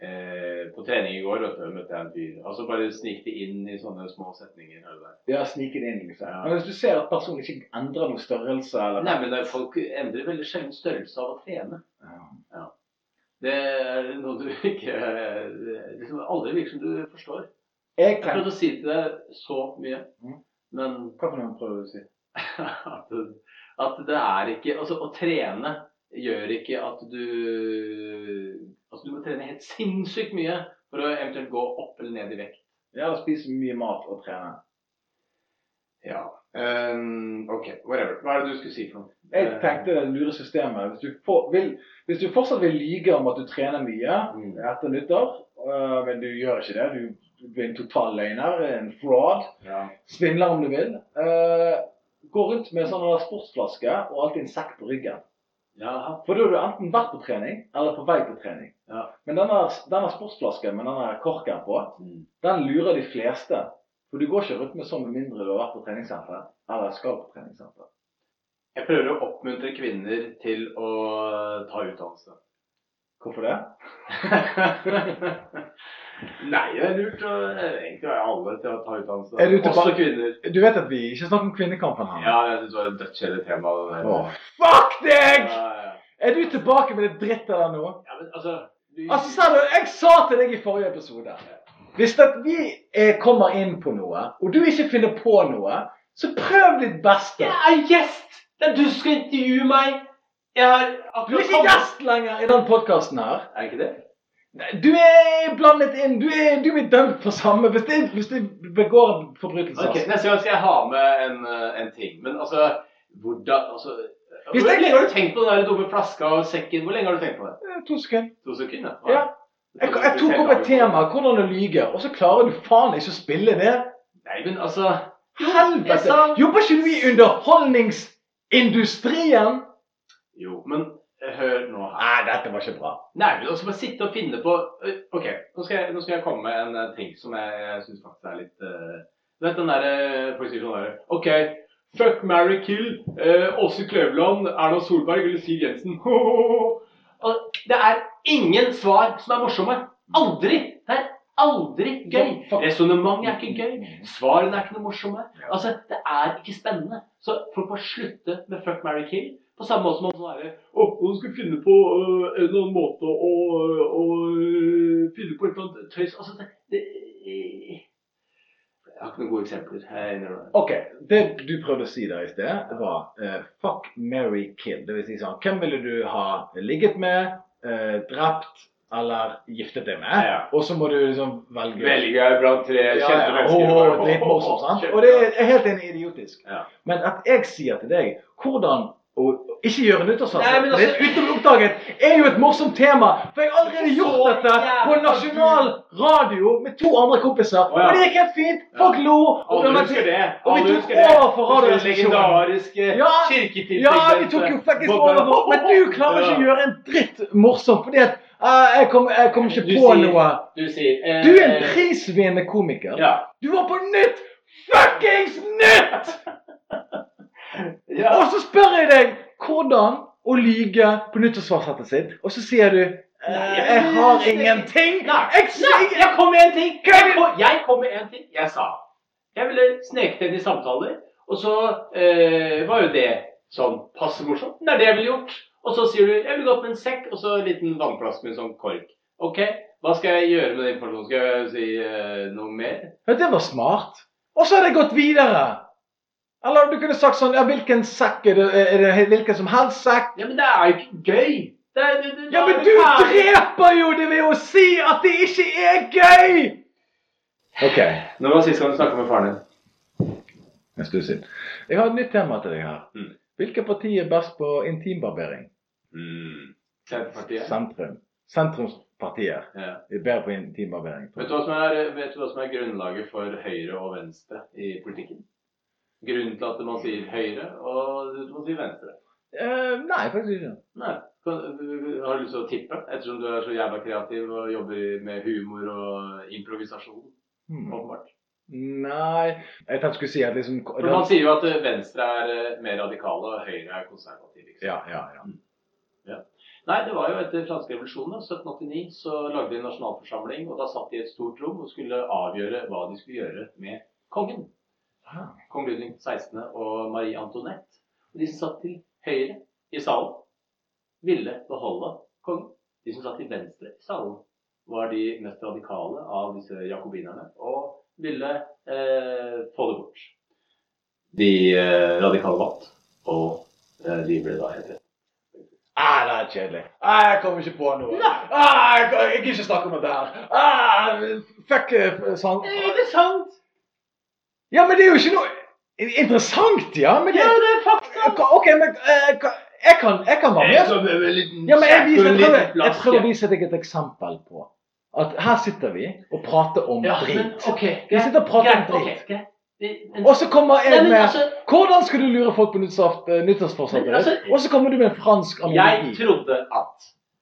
eh, På trening i går vet du, møtte jeg en fyr. Altså bare snik det inn i sånne små setninger. Eller der. ja snike det inn, liksom. Ja. Men hvis du ser at personen ikke endrer noe størrelse eller Nei, men det er Folk endrer veldig sjelden størrelse av å trene. Ja. Det er noe du ikke eh, liksom Aldri virker som du forstår. Jeg Jeg trenger prøvde å si til deg så mye, Mhm. men Hva for noe prøver du å si? at, at det er ikke Altså, å trene gjør ikke at du Altså, du må trene helt sinnssykt mye for å eventuelt gå opp eller ned i vekt. Ja, å spise mye mat og trene. Ja. Ehm, ok, whatever. Hva er det du skulle si for noe? Jeg tenkte det lure systemet. Hvis du, får, vil, hvis du fortsatt vil lyge om at du trener mye Mm. etter nyttår, øh, men du gjør ikke det, du, du blir en total løgner, en fraud, ja. svindler om du vil, øh, gå rundt med en sånn der sportsflaske og alltid en sekk på ryggen. Jaha. For da har du enten vært på trening, eller på vei på trening. Ja. Men denne, denne sportsflasken med denne korken på, Mm. den lurer de fleste. For du går ikke rundt med sånn med mindre du har vært på treningssenter, eller skal på treningssenter. Jeg prøver å oppmuntre kvinner til å ta utdannelse. Hvorfor det? Nei, det er lurt å egentlig være alle til å ta utdannelse. Er du tilba- Også kvinner. Du vet at vi ikke snakker om kvinnekampen Ja, jeg syns det var et dødskjedelig tema. det der. Åh, fuck deg! Ja, ja, ja. Er du tilbake med det dritt der nå? Ja, men altså du- Altså, sa du, jeg sa til deg i forrige episode Hvis at vi eh, kommer inn på noe, og du ikke finner på noe, så prøv ditt beste. Jeg er gjest! Det er du som skal intervjue meg! Jeg har Du er ikke gjest lenger i den podkasten her. Er jeg ikke det? Nei, Du er blandet inn. Du er, du blir dømt for samme hvis det, hvis det begår en forbrytelse. Ok, altså. Neste gang skal jeg ha med en, eh, en ting. Men altså Hvordan altså, Hvor Hvis det- lenge har du tenkt på den der dumme flaska og sekken? Hvor lenge har du tenkt på det? Eh, To sekunder. To sekunder? Ja. Jeg, jeg tok opp et tema, hvordan å lyge, og så klarer du faen ikke å spille det. Nei, men altså jeg Helvete! sa- Jobber ikke du i underholdningsindustrien? Jo, men eh, Hør nå her. Nei, dette var ikke bra. Nei, men også bare sitte og finne på øh, Ok, nå skal jeg, nå skal jeg komme med en eh, ting som jeg, jeg syns faktisk er litt eh, Du vet den derre Folk sier sånn derre Ok, fuck, marry, kill. eh, Åse Kløvland, Erna Solberg eller Siv Jensen. Og det er ingen svar som er morsomme. Aldri! Det er aldri gøy. Fuck. Resonnementet er ikke gøy. Mm. Svarene er ikke noe morsomme. Altså, Det er ikke spennende. Så folk må slutte med fuck, marry, kill. På samme måte som om sånn herre Å, nå skal vi finne på øh, en eller annen måte å, å, å øh, finne på et eller annet tøys Altså, det, det Jeg har ikke noen gode eksempler. Jeg innrømmer det. Ok, Det du prøvde å si der i sted, var eh, fuck, marry, kill. Det vil si sånn Hvem ville du ha ligget med, eh, drept eller giftet deg med? Ja. Og så må du liksom velge. jeg blant tre Ja, ja, åh, dritmorsomt, sant? Og det er helt enig idiotisk. Ja. Men at jeg sier til deg hvordan å å ikke gjøre Nei, men nyttårsaften altså- uten å bli oppdaget, er jo et morsomt tema. For jeg har allerede gjort Så dette på jævla nasjonal radio med to andre kompiser. Å, ja. Og det gikk helt fint. Ja. Folk lo. Og Alle det var- husker det. og vi Alle tok husker det. over for Det radiostasjonen. legendariske Ja, kirketilfellet. ja, vi tok jo faktisk over. for- Men du klarer ikke å gjøre en dritt morsomt, fordi at eh, jeg, kom, jeg kom ikke Du på sier- noe. Du sier eh, Du er en prisvinnende komiker. Ja. Du var på nytt! Fuckings nytt! ja. Og så spør jeg deg hvordan å lyge på nyttårsforsettet sitt, og så sier du eh, Nei, jeg har ingenting. Nei. Jeg Nei, sier jeg kom med en ting! Jeg kom, jeg kom med en ting. Jeg sa Jeg ville sneket inn i samtaler, og så eh, var jo det sånn passe morsomt. Det er det jeg ville gjort. Og så sier du jeg ville gått med en sekk og så en liten vannflaske med en sånn kork. Ok, hva skal jeg gjøre med den informasjonen? Skal jeg si eh, noe mer? Men det var smart. Og så hadde jeg gått videre. Eller du kunne sagt sånn Ja, hvilken sekk er det? Er det hvilken som helst sekk? Ja, men det er jo ikke gøy! Det er, det, det, Ja, men det du er ferdig. dreper jo det ved å si at det ikke er gøy! OK. Når var sist gang du snakka med faren din? En stund siden. Jeg har et nytt tema til deg her. Mm. Hvilke partier er best på intimbarbering? Senterpartiet. Sentrum. Sentrumspartier Ja. er bedre på intimbarbering. Vet du, hva som er, vet du hva som er grunnlaget for høyre og venstre i politikken? Grunnen til at man sier høyre, og man sier venstre. Eh, nei, faktisk ikke. Nei. Kan, har du lyst til å tippe, ettersom du er så jævla kreativ og jobber med humor og improvisasjon? Hmm. åpenbart. Nei Jeg tenkte jeg skulle si at liksom For Man sier jo at eh, venstre er eh, mer radikale, og høyre er konservative. ikke sant? Ja, ja, ja. Nei, det var jo etter franske revolusjonen, da, 1789, så lagde de en nasjonalforsamling. Og da satt de i et stort rom og skulle avgjøre hva de skulle gjøre med kongen. Ah. kong Ludvig 16. og Marie Antoinette. Og de som satt til høyre i salen, ville beholde kongen. De som satt til venstre i salen, var de mest radikale av disse jakobinerne og ville eh, få det bort. De eh, radikale vant, og eh, de ble da helt rett. Ah, det er kjedelig. Ah, jeg kommer ikke på noe. Nei. Ah, jeg kan jeg kan ikke snakke om dette her. Ah, fuck eh, sånn. interessant! Ja, men det er jo ikke noe interessant, ja. Men det, det er fakta! OK, men eh, hva- jeg kan, jeg kan være med. Ja, men jeg, viser, jeg, prøver, jeg prøver å vise deg et eksempel på at her sitter vi og prater om Ja, men drit. ok, Vi sitter og prater om greit, ok, drit. greit. Det- men- Og så kommer Nei, jeg men med altså- Hvordan skal du lure folk på nyttårsaf- eh, nyttårsforsettet Men altså- ditt? Og så kommer du med en fransk Jeg analogi. trodde at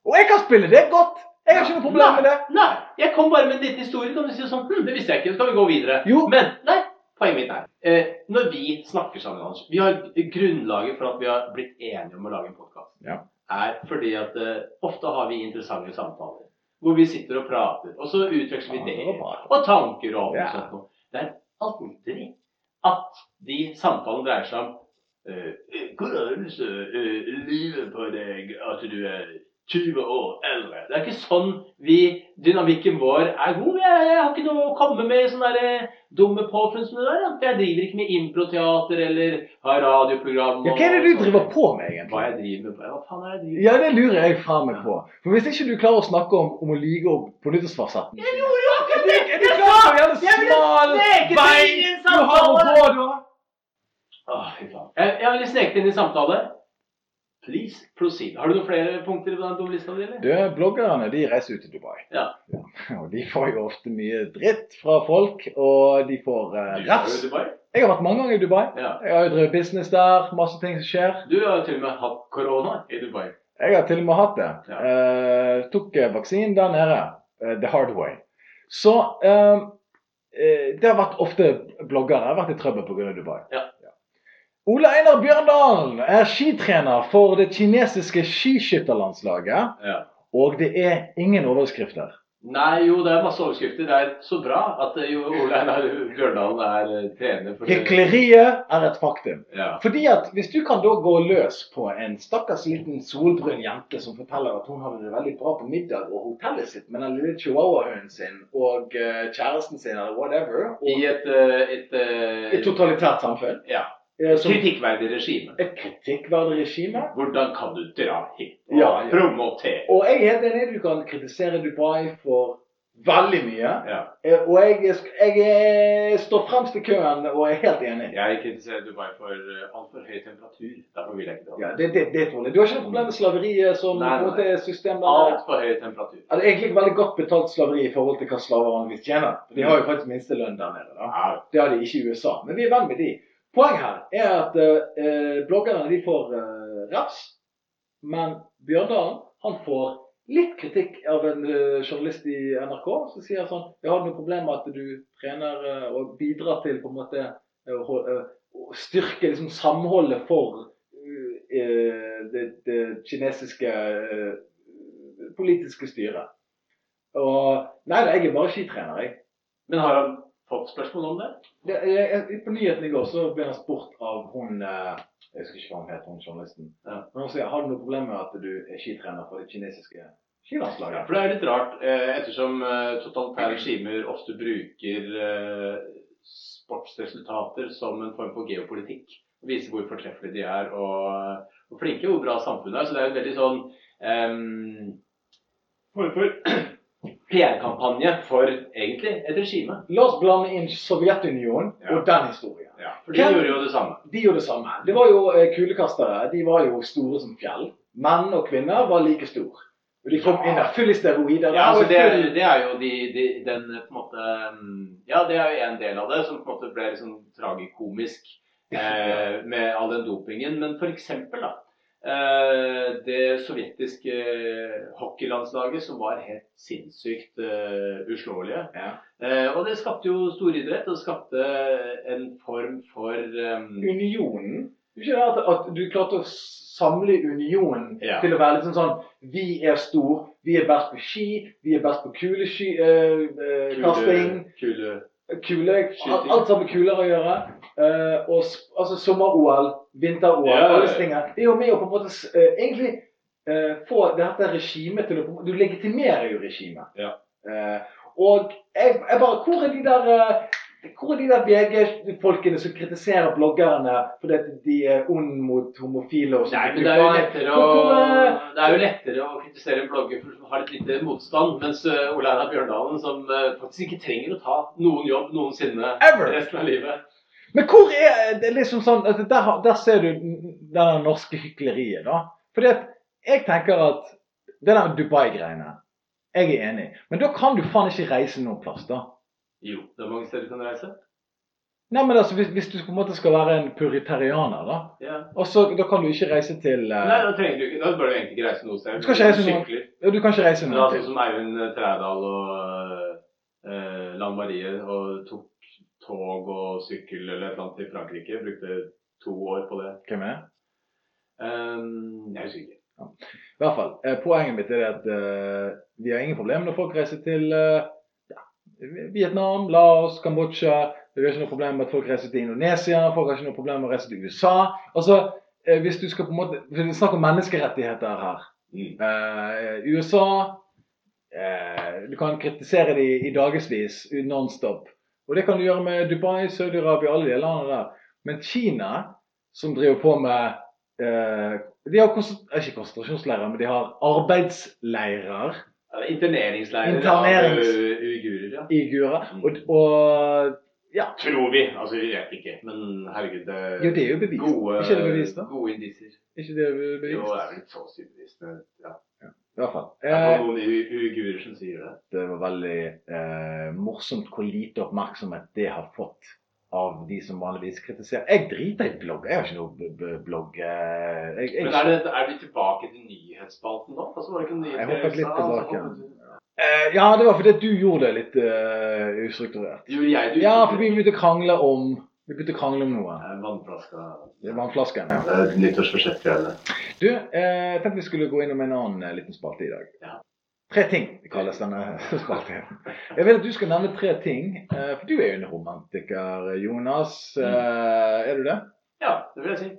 Og jeg kan spille det godt! Jeg har ikke noe problem med det. Nei, jeg kom bare med en liten historie. Kan du si sånn, hm, Det visste jeg ikke, så kan vi gå videre. Jo. Men nei, poenget mitt er eh, Når vi snakker sammen, Anders vi har Grunnlaget for at vi har blitt enige om å lage en podkast, Ja. er fordi at eh, ofte har vi interessante samtaler. Hvor vi sitter og prater, og så utveksler vi Ja, det var ideer bra. og tanker og alt Ja. mulig sånt noe. Det er aldri at de samtalene dreier seg om eh, hvordan så eh, livet på deg at du er 20 år eldre. Det er ikke sånn vi Dynamikken vår er god. Jeg, jeg har ikke noe å komme med sånne der, eh, dumme påfunn som det der. da. For jeg driver ikke med improteater eller har radioprogram. Ja, hva er det du driver på med, Hva egentlig? jeg driver med? Hva faen er det jeg driver med? Ja, det lurer jeg faen meg på. For hvis ikke du klarer å snakke om, om å lyge om på nyttårsforsetten Jeg gjorde jo akkurat det! Er du klar over hvor Jeg jævlig ville smal sneket meg inn i vei en du har å samtale! gå, da? Åh, fy faen. Jeg, jeg ville sneket inn i samtale. Please proceed. Har du noen flere punkter på den dumme lista di, eller? Du, bloggerne de reiser ut til Dubai. Ja. Og de får jo ofte mye dritt fra folk, og de får eh, Du var jo refs. i Dubai. Jeg har vært mange ganger i Dubai. Ja. Jeg har jo drevet business der, masse ting som skjer. Du har jo til og med hatt korona i Dubai. Jeg har til og med hatt det. Ja. Eh, tok eh, vaksinen der nede. eh, the hard way. Så eh, eh, Det har vært ofte bloggere. Jeg har vært i trøbbel pga. Dubai. Ja. Ole Einar Bjørndalen er skitrener for det kinesiske skiskytterlandslaget. Ja. Og det er ingen overskrifter. Nei, jo, det er masse overskrifter. Det er så bra at eh, jo Ole Einar Bjørndalen er eh, trener for Hykleriet er et faktum. Ja. Fordi at Hvis du kan da gå løs på en stakkars liten solbrun jente som forteller at hun har det veldig bra på middag og hotellet sitt med den lille chihuahuahunden sin og eh, kjæresten sin eller whatever I og et, eh, et, eh, Et totalitært samfunn ja, eh, som kritikkverdig regime. et kritikkverdig regime Hvordan kan du dra hit og Ja, ja. promotere? Og jeg er helt enig, du kan kritisere Dubai for veldig mye. Ja. Eh, Og jeg, jeg eh, står fremst i køen og er helt enig. Jeg kritiserer Dubai for eh, altfor høy temperatur. Derfor vil jeg ikke dra. Ja, det, det, det tror jeg. Du har ikke noe problem med slaveriet som Nei, nei, på en måte er systemet? Altfor høy temperatur. Ja, det er Altså, egentlig veldig godt betalt slaveri i forhold til hva slaver vanligvis tjener. De har jo faktisk minstelønn der nede. da. Ja. Det har de ikke i USA, men vi er venn med de. Poenget her er at eh, eh, bloggerne de får eh, raps, men Bjørndalen han får litt kritikk av en eh, journalist i NRK som sier sånn Jeg har noe problem med at du trener eh, og bidrar til på en måte eh, å hol- eh, å styrke liksom, samholdet for eh, eh, det, det kinesiske eh, politiske styret. Og Nei, nei, jeg er bare skitrener, jeg. Men har han fått spørsmål om det? Det, jeg, jeg, på nyheten i går så ble han spurt av hun eh, Jeg husker ikke hva hun het, hun journalisten. Ja. Men hun sier har du noe problem med at du er skitrener for det kinesiske skilandslaget? For det er litt rart, eh, ettersom eh, totalitære regimer ofte bruker eh, sportsresultater som en form for geopolitikk. og Viser hvor fortreffelige de er, og hvor flinke og hvor bra samfunnet er. Så det er en veldig sånn ehm, form for PR-kampanje for egentlig et regime. La oss blande inn Sovjetunionen Ja. og den historien. For de Hvem- gjorde jo det samme. De gjorde det samme. Det var jo eh, kulekastere. De var jo store som fjell. Menn og kvinner var like store. Og de kom Ja. inn der full i steroider. Ja, altså og det, er, full- det er jo de, de, den på en måte mm, Ja, det er jo en del av det som på en måte ble liksom tragikomisk eh, med all den dopingen. Men for eksempel, da. Eh, det sovjetiske eh, hockeylandslaget som var helt sinnssykt eh, uslåelige. Ja. Eh, og det skapte jo storidrett, og det skapte en form for eh, unionen Du skjønner at, at du klarte å samle unionen Ja. til å være liksom sånn Vi er stor, vi er best på ski, vi er best på kulesky... eh, eh, kasting, kule, kule kule Skyting. Alt alt som har med kuler å gjøre. eh, og s- altså sommer-OL, vinter-OL, Ja, ja, ja. alle disse tingene. Det er jo med å på en måte s- eh, egentlig eh, få dette regimet til å på en måte- Du legitimerer jo regimet. Ja. Eh, og jeg, jeg bare Hvor er de der eh, hvor er de der VG-folkene som kritiserer bloggerne fordi at de er ond mot homofile? og sånn? sånt? Nei, men det er jo lettere å, Hvor- hvor, eh, det er jo lettere å kritisere en blogger for som har et lite motstand, mens eh, Ole Einar Bjørndalen, som eh, faktisk ikke trenger å ta noen jobb noensinne Ever. resten av livet Men hvor er det er liksom sånn altså der, har- der ser du det der norske hykleriet, da. Fordi at jeg tenker at det der Dubai-greiene Jeg er enig. Men da kan du faen ikke reise noen plass, da. Jo, det er mange steder du kan reise. Nei, men altså, hvis, hvis du på en måte skal være en puritarianer, da. Ja. Og så da kan du ikke reise til eh, Nei, da trenger du ikke, da bør du egentlig ikke reise noe sted. Du skal ikke reise noe. Sykler. ja, Du kan ikke reise Men noen altså, til. som Eivind Trædal og eh, Lan Marie og tok tog og sykkel eller et eller annet til Frankrike, brukte to år på det. Hvem er det? Um, jeg husker ikke. I hvert fall. eh, Poenget mitt er det at eh, vi har ingen problemer når folk reiser til eh, ja, Vietnam, Laos, Kambodsja. Vi har ikke noe problem med at folk reiser til Indonesia. Folk har ikke noe problem med å reise til USA. Altså, eh, hvis du skal på en måte for Det er snakk om menneskerettigheter her. Mm. Eh, USA eh, Du kan kritisere dem i dagevis nonstop. Og det kan du gjøre med Dubai, Saudi-Arabia, alle de landene der. Men Kina, som driver på med eh, De har konsen- eh, ikke konsentrasjonsleirer, men de har arbeidsleirer Ja, Interneringsleirer Internerings- av eh, uigurer, ja. i Gura. Mm. Og, og Tror vi. Altså, vi vet ikke. Men herregud, det Jo, det er jo bevist. Gode, ikke det bevist, da? Gode indisier. Ikke det bevist? Jo, det er vel så sykt bevist. men Ja. I hvert fall. Det er Eh, noen u- uigurer som sier det. det var veldig eh, morsomt hvor lite oppmerksomhet det har fått av de som vanligvis kritiserer. Jeg driter i blogg. Jeg har ikke noe b b blogg eh, jeg, jeg, Men er, det, er vi tilbake til nyhetsspalten nå? Altså, var det ikke Jeg nyheter, hoppet litt i USA, tilbake, og så- Eh, Ja, det var fordi du gjorde det litt eh, ustrukturert. Gjorde jeg det? Ja, for vi begynte å krangle om Vi begynte å krangle om noe. Eh, Vannflaska Det var en flaske. Eh, Nyttårsforsettgreiene. Du, eh, jeg tenkte vi skulle gå innom en annen eh, liten spalte i dag. Ja. Tre ting det kalles denne spalten. Jeg vil at du skal nevne tre ting. eh, For du er jo en romantiker, Jonas. Mm. Eh, Er du det? Ja, det vil jeg si.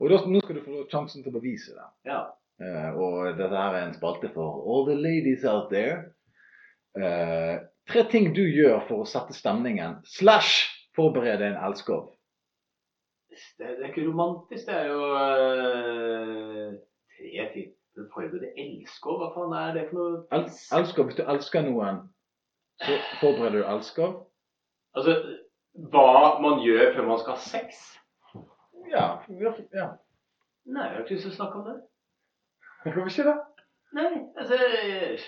Og da, nå skal du få sjansen til å bevise det. Ja. Eh, og dette her er en spalte for all the ladies out there. Eh, tre ting du gjør for å sette stemningen slash forberede en elskov. Det, det er ikke romantisk, det er jo eh, tre ting. Den forberedte elskov, hva faen er det for noe? El elskov, Hvis du elsker noen, så forbereder du elskov. Altså, hva man gjør før man skal ha sex? Ja. ja. Nei, jeg har ikke lyst til å snakke om det. Hvorfor ikke det? Nei, altså eh,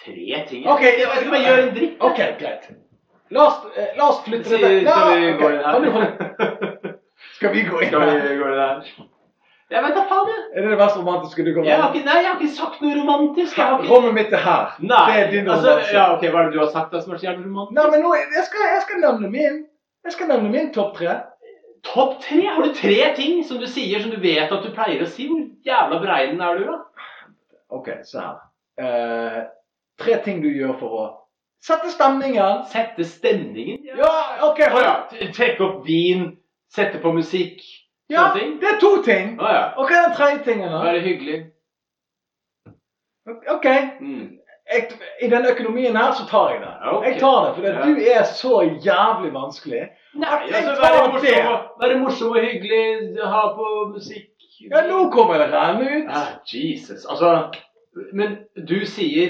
Tre ting Ok, Jeg vet ikke om jeg gjør en dritt. OK, greit. La oss, eh, la oss flytte Skal det vi- skal vi Ja, gå ok. inn Kan du holde- her? Skal vi gå inn Skal her? vi gå inn her? Jeg vet da faen, jeg. Er det det mest romantiske du kan Jeg har ikke, nei, jeg har ikke sagt noe romantisk. Jeg har ikke... Rommet mitt er her. Nei, Det er din altså, romanse. ja, ok, Hva er det du har sagt da som er så jævlig romantisk? Nei, men nå, jeg skal, jeg skal nevne min. Jeg skal nevne min topp tre. Topp tre? Har du tre ting som du sier som du vet at du pleier å si? Hvor jævla breinen er du, da? Ok, se her. Eh, tre ting du gjør for å sette stemningen. Sette stemningen? Ja. Ja, ok. Å ja. t- Trekke opp vin, sette på musikk. Ja, Sånne ting? det er to ting. Å ja. Og hva er den tredje tingen, da? Være hyggelig. Ok, Mm. jeg, i den økonomien her så tar jeg det. Ja, ok. Jeg tar det, for Ja. du er så jævlig vanskelig. Nei, Jeg altså, tar være det. morsom, og, være morsom og hyggelig, ha på musikk Ja, nå kommer det renne ut. Ah, Jesus. Altså Men du sier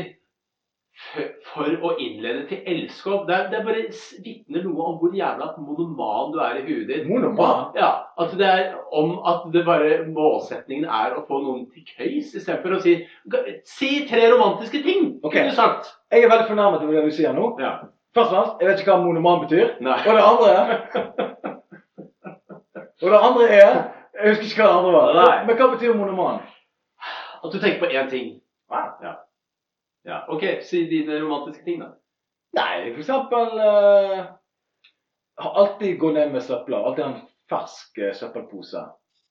f- for å innlede til elskov. Det, er- det er bare s- vitner noe om hvor jævla monoman du er i huet ditt. Monoman. Ja, at det er om at det bare målsetningen er å få noen til køys, istedenfor å si ga- Si tre romantiske ting, Ok. kunne du sagt. Jeg er veldig fornærmet over det du sier nå. Ja. Først og fremst, jeg vet ikke hva monoman betyr. Nei. Og det andre Og det andre er Jeg husker ikke hva det andre var. Nei. Men hva betyr monoman? At du tenker på én ting. Wow. Ja. ja. OK, si dine romantiske ting, da. Nei, for eksempel eh, har Alltid gå ned med søpla. Alltid ha en fersk eh, søppelpose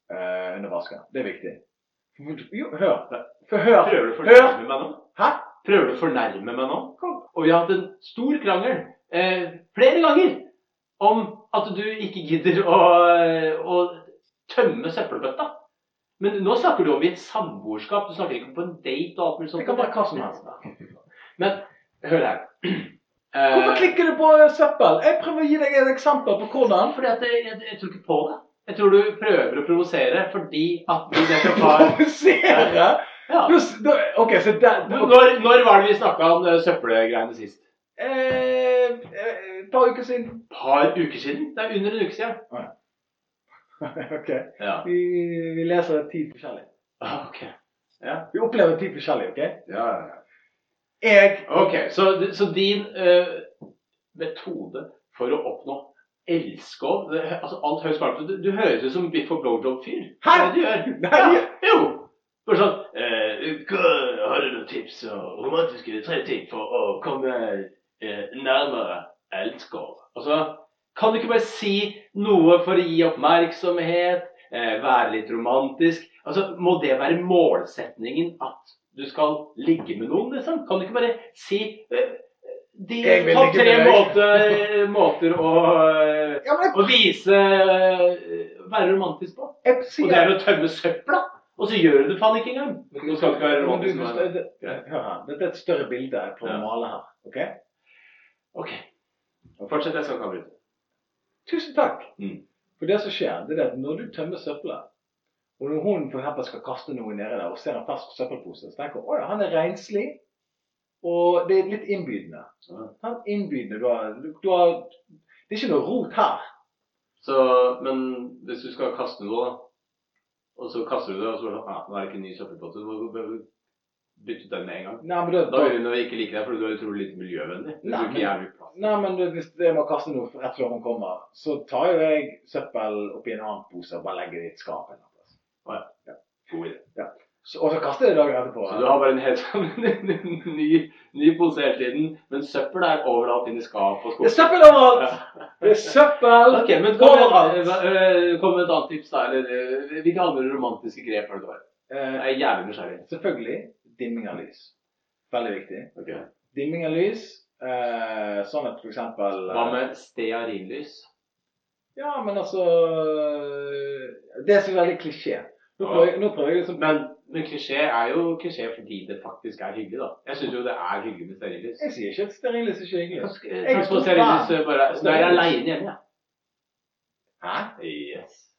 eh, under vasken. Det er viktig. Jo, hør. For hør. Prøver du å fornærme meg nå? Hæ? prøver du å fornærme meg nå? Og vi har hatt en stor krangel eh, flere ganger om at du ikke gidder å, eh, å tømme søppelbøtta. Men nå snakker du om i et samboerskap. Du snakker ikke om på en date og alt mulig sånt. Det kan være hva som helst. Men hør her. Hvorfor Eh, klikker du på eh, søppel? Jeg prøver å gi deg et eksempel på hvordan. fordi at jeg, jeg, jeg tror ikke på det. Jeg tror du prøver å provosere fordi at du nettopp har Provosere! ja. Du s- du- Ok, så der ok. når, når var det vi snakka om eh, søppelgreiene sist? Eh, eh, Et par uker siden. Et par uker siden? Det er under en uke siden. ok. Ja. Vi, vi leser ti forskjellig. Ah, Ok. Ja. Vi opplever ti forskjellig, OK? Ja, ja, ja. Jeg Ok, så, så din eh, metode for å oppnå elskov det, altså Alt høres varmt ut. Du, du høres ut som Biff og Blowjob-fyr. Det er Hæ? det du gjør. Nei! Ja, jo! Bare sånn eh, hva- Har du noen tips og romantiske tre ting for å komme eh, nærmere elskov? Altså, kan du ikke bare si noe for å gi oppmerksomhet? Eh, være litt romantisk? Altså, Må det være målsetningen at du skal ligge med noen, liksom? Kan du ikke bare si eh, de Jeg vil topp ligge tre med deg. måter, måter å, eh, Ja, men å vise eh, Være romantisk på? jeg, jeg Og sier det er å tømme søpla! Og så gjør du det faen ikke engang! Nå skal det ikke være Men du- romantisk. men- du- det- Hør her. Dette er et større bilde jeg prøver å Ja. male her. OK? Ok. Fortsett, jeg skal ikke avbryte. Tusen takk. Mm. For det som skjer, det er at når du tømmer søpla, og når hun for eksempel skal kaste noe nedi der og ser en fersk søppelpose, så tenker hun at han er renslig, og det er litt innbydende. Han innbydende, du har, du har Det er ikke noe rot her. Så, men hvis du skal kaste noe, da, og så kaster du det, og så er det sånn ah, Nå er det ikke en ny søppelpotte. Du må bytte ut den med en gang. Nei, men da, Da vil hun jo ikke like deg, fordi du er utrolig lite miljøvennlig. Du Nei, bruker men- jævlig plass. Nei, men det, hvis jeg må kaste noe rett før hun kommer, så tar jo jeg søppel oppi en annen pose og bare legger det i et skap. eller noe. God idé. Så- Og så kaster jeg det dagen etterpå. Så du har bare en helt sånn ny, ny pose hele tiden, men søppel er overalt inn i skap og Det er skuffer. søppel overalt! Det er søppel Ok, men kom med, overalt! hva- øh, kom med et annet tips, da. Eller øh, hvilke andre romantiske grep har du tatt? Eh, Jeg er jævlig nysgjerrig. selvfølgelig dimming av lys. Veldig viktig. Ok. Dimming av lys, eh, sånn at for eksempel Hva med stearinlys? Ja, men altså eh, Det er så veldig klisjé. Nå prøver, jeg- nå prøver jeg liksom Men, men klisjé er jo klisjé fordi det faktisk er hyggelig, da. Jeg syns jo det er hyggelig med stearinlys. Jeg sier ikke at stearinlys er ikke hyggelig. Jeg er kan stor på stearinlys øh, bare fan. Når jeg er aleine hjemme, Hæ? jeg. Yes.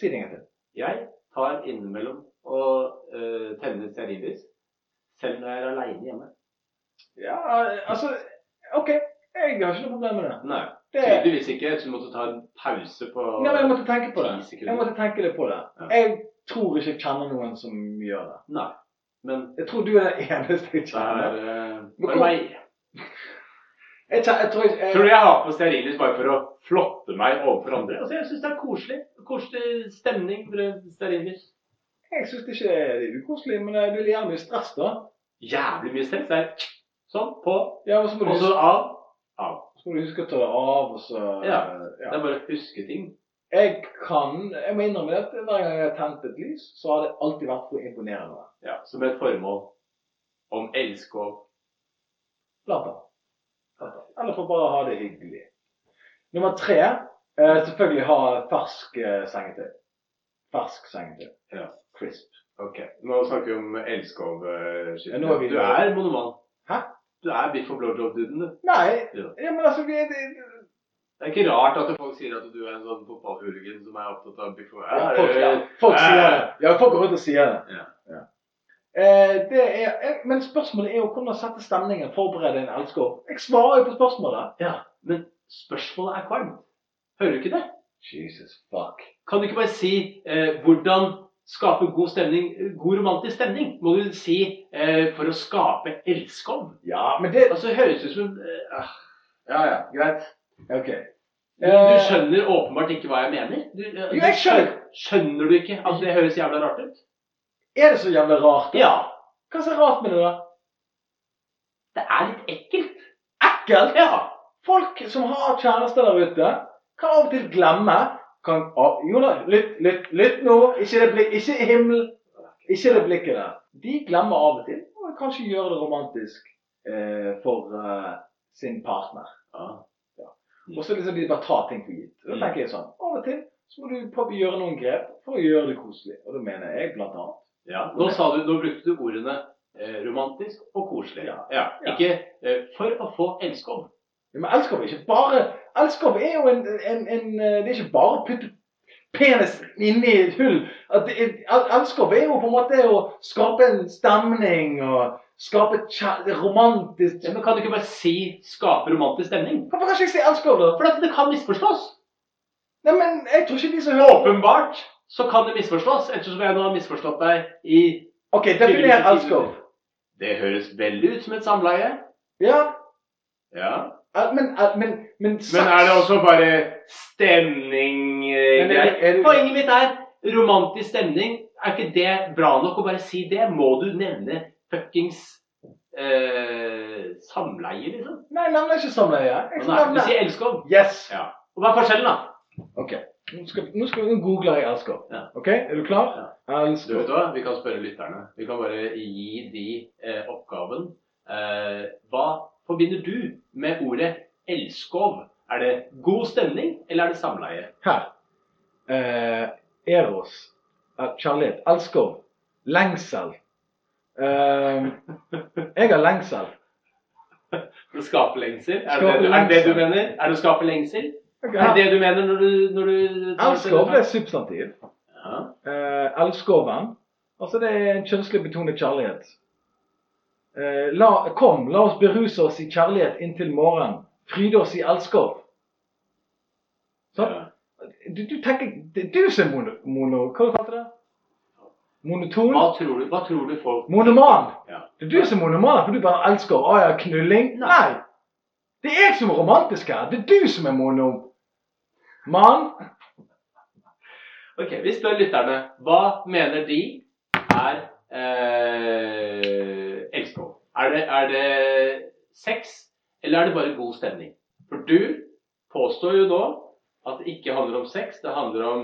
Si det en gang til. Jeg tar innimellom og øh, tenner stearinlys. Selv når jeg er aleine hjemme. Ja, altså OK. Jeg har ikke noe problem med det. Nei, det tydeligvis ikke. Så du måtte ta en pause på Nei, men jeg måtte tenke på det. Ti sekunder. Jeg måtte tenke litt på det. Ja. Jeg tror ikke jeg kjenner noen som gjør det. Nei. Men Jeg tror du er den eneste jeg det kjenner. er øh, Men bare kom- meg. Jeg, kjen- jeg tror ikke Tror du jeg, jeg har på stearinlys bare for å flotte meg overfor andre? Altså, Jeg syns det er koselig. Koselig stemning med stearinlys. jeg syns det ikke er ukoselig, men det blir gjerne mye stress, da. Jævlig mye stress. Det er sånn på, Ja, og så må, du og så huske- av. Av. så må du huske å ta det av, og så Ja. ja. Det er bare å huske ting. Jeg kan Jeg må innrømme at hver gang jeg har tent et lys, så har det alltid vært for å imponere noen. Ja, Som et formål om elsk og Plata. Eller for bare å ha det hyggelig. Nummer tre eh, selvfølgelig ha fersk eh, sengetøy. Fersk sengetøy. Ja. Crisp. Ok, Nå snakker vi om elskov-skiftet. Ja, nå er vi- du er monoman. Hæ? Du er biff og blowjob-duden, du. Nei, Ja. ja, men altså vi, det, Det er ikke rart at folk sier at du er en sånn fotballhooligan som er opptatt av biff og ja, folk, ja, folk sier det. Ja, folk går rundt og sier det. Ja. Ja. Eh, det er, eh, men spørsmålet er jo hvordan sette stemningen, forberede en elsker. Jeg svarer jo på spørsmålet. Ja, Men spørsmålet er kvalmt. Hører du ikke det? Jesus fuck. Kan du ikke bare si eh, 'hvordan skape god stemning, god romantisk stemning'? Må du si eh, 'for å skape elskov'? Ja, men det Altså, det høres ut som en eh, ah. Ja ja, greit. OK. Du, du skjønner åpenbart ikke hva jeg mener? Du, eh, Jo, Eh. jeg du skjønner. Skjønner du ikke at det høres jævla rart ut? Eh, Er det så jævlig rart? Ja. Hva er så rart med det, da? Det er litt ekkelt. Ekkelt? Ja. Folk som har kjærester der ute, kan av og til glemme kan, ah, Jonas, lytt, lytt, lytt nå. Ikke, det blikk, ikke himmel. Ikke det blikket der. De glemmer av og til å kanskje gjøre det romantisk eh, for eh, sin partner. Og så liksom de bare tar ting for gitt. Da tenker jeg sånn, Av og til så må du prøve å gjøre noen grep for å gjøre det koselig. Og da mener jeg blant annet Ja, Nå, sa du, nå brukte du ordene eh, romantisk og koselig. Ja. Ja. Ikke eh, 'for å få elskov'. Ja, Men elskov er ikke bare Elskov er jo en, en, en eh, Det er ikke bare å putte penis inni et hull. At det er- el- Elskov er jo på en måte å skape en stemning og skape et kjær- romantisk Ja, men kan du ikke bare si 'skape romantisk stemning'? Hvorfor kan ikke jeg si elskov, da? For at det kan misforstås. Nei, men jeg tror ikke de som hører på Åpenbart så kan det misforstås, ettersom jeg nå har misforstått deg i OK, definer elskov. Det høres veldig ut som et samleie. Ja, Ja. el- men el- Men, men, Men er det også bare stemning eh, Men er greit? det- er det- Poenget mitt er romantisk stemning. Er ikke det bra nok å bare si det? Må du nevne fuckings eh, samleie, liksom? Nei, jeg nevner ikke samleie. Jeg Nei, du nevner sier elskov. Yes. Ja. Og hva er forskjellen, da? OK. Nå skal, nå skal vi google jeg elskov. Ja. OK, er du klar? Du vet Elskov. hva, Vi kan spørre lytterne. Vi kan bare gi de eh, oppgaven. Eh, hva forbinder du med ordet elskov? Er det god stemning, eller er det samleie? Her. Eh, eros. Eh, Kjærlighet. Elskov. Lengsel. Eh, jeg har lengsel. Det skaper lengsel? Er det, Skaper det du- er det det du lengsel. mener? Er det å skape lengsel? Er det Okay. det du mener når du, når du Elskov er substantiv. Ja. Eh, elskoven. Altså det er en kjønnslig betonet kjærlighet. Eh, la, kom, la oss beruse oss i kjærlighet inntil morgen. Fryde oss i Sånn. elskov. Sant? Ja. sånn Du, du tenker Det er du som er mono... mono hva kalte du det? Monoton. Hva tror du, hva tror du folk Monoman! Ja. Det er du som er monoman, for du bare elsker å ah, ja, knulling. Nei! Det er jeg som er romantisk her. Det er du som er monoman. Ok, vi spør lytterne. Hva mener de er eh, elskov? Er det, er det sex, eller er det bare god stemning? For du påstår jo nå at det ikke handler om sex, det handler om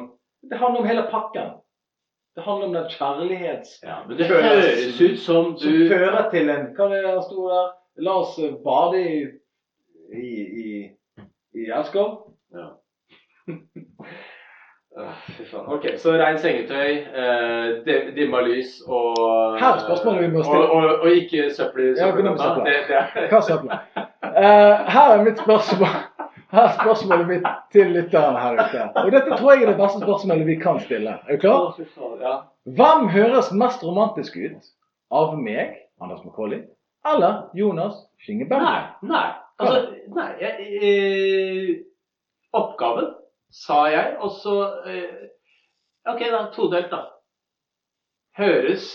Det handler om hele pakken. Det handler om den kjærlighets... ja, men Det høres ut som Som du fører til en Hva er det der sto der? La oss eh, bade i i, i, i elsker. Ah, Fy faen. Ok, så rein sengetøy, eh, dim- dimma lys og eh, Her er spørsmålet vi må stille. Og, og, og ikke søppel i Ja, ikke noe med søppelbøtta. søpla. Det, det er Hva sier du? Eh, her er mitt spørsmål. Her er spørsmålet mitt til lytterne her ute. Og dette tror jeg er det beste spørsmålet vi kan stille. Er du klar? Å, fy faen, ja. Hvem høres mest romantisk ut? Av meg, Anders Macauley, eller Jonas Nei. Skingeberg? nei. Altså, nei jeg, eh, Oppgaven, sa jeg, og så eh, Ok, da. Todelt, da. Høres